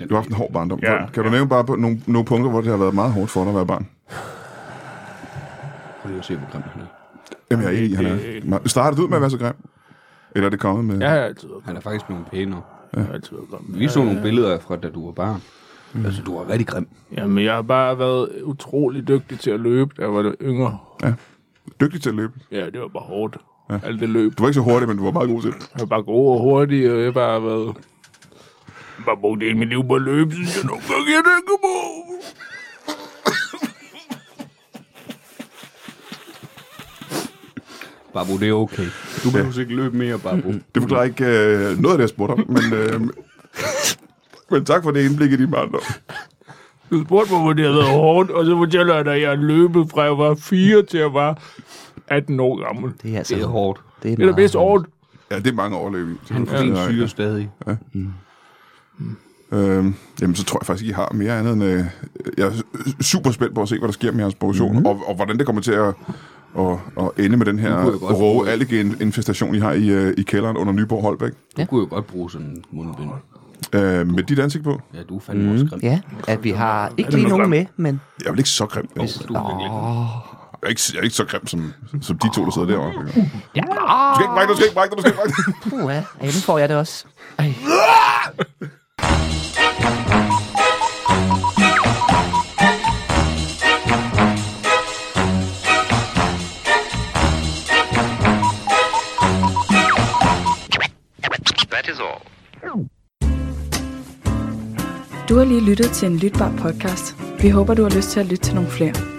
Speaker 1: Du har haft en hård barndom.
Speaker 3: Ja.
Speaker 1: kan du nævne bare på nogle, nogle punkter, hvor det har været meget hårdt for dig at være barn?
Speaker 2: Prøv lige at se, hvor grim han er.
Speaker 1: Jamen, jeg er enig, i, han er. Startede du ud med at være så grim? Eller er det kommet med?
Speaker 3: Jeg har altid
Speaker 2: Han er faktisk blevet pænere.
Speaker 3: været altid været grim.
Speaker 2: Vi så nogle billeder fra, da du var barn. Mm. Altså, du var rigtig grim.
Speaker 3: Jamen, jeg har bare været utrolig dygtig til at løbe, da jeg var yngre.
Speaker 1: Dygtig til at løbe.
Speaker 3: Ja, det var bare hårdt. Ja. Alt det løb.
Speaker 1: Du var ikke så hurtig, men du var meget god til det.
Speaker 3: Jeg var bare god og hurtig, og jeg bare har været... Jeg har bare brugt hele mit liv på at løbe, synes jeg nogle gange, jeg tænker på.
Speaker 2: Babu, det er okay. Du behøver ja. ikke løbe mere, Babu.
Speaker 1: Mm. Det forklarer ikke øh, noget af det, jeg spurgte om, men, øh, men tak for det indblik i din barndom.
Speaker 3: Du spurgte mig, hvor det havde været hårdt, og så fortæller jeg dig, at jeg har løbet fra jeg var 4 til jeg var 18 år gammel.
Speaker 5: Det er altså...
Speaker 2: Det er hårdt.
Speaker 5: Det er,
Speaker 3: Det er da
Speaker 5: meget
Speaker 3: mest hårdt.
Speaker 1: Ja, det er mange overløb i.
Speaker 2: Han er ja, syge stadig.
Speaker 1: Øhm, jamen, så tror jeg faktisk, I har mere andet end... Øh, jeg er super spændt på at se, hvad der sker med jeres produktion, mm-hmm. og, og hvordan det kommer til at, at, at ende med den her
Speaker 2: Mhm. Nu kunne jeg godt bruge
Speaker 1: roe
Speaker 2: det.
Speaker 1: algeinfestation, I har i, øh, i kælderen under Nyborg Holbæk.
Speaker 2: Du kunne jo godt bruge sådan en mundbind.
Speaker 1: Øh, med dit ansigt på.
Speaker 2: Ja, du er fandme mm. også grim.
Speaker 5: Ja, at vi har ikke lige nogen med, men
Speaker 1: Jeg er vel ikke så grim. Jeg
Speaker 2: Du er virkelig grim.
Speaker 1: er ikke, jeg er ikke så grim, som, som de to, der sidder derovre. Du skal ikke brække dig, du skal ikke brække dig, du skal ikke brække dig.
Speaker 5: puha, ja, nu får jeg det også. Ej.
Speaker 6: Du har lige lyttet til en lytbar podcast. Vi håber, du har lyst til at lytte til nogle flere.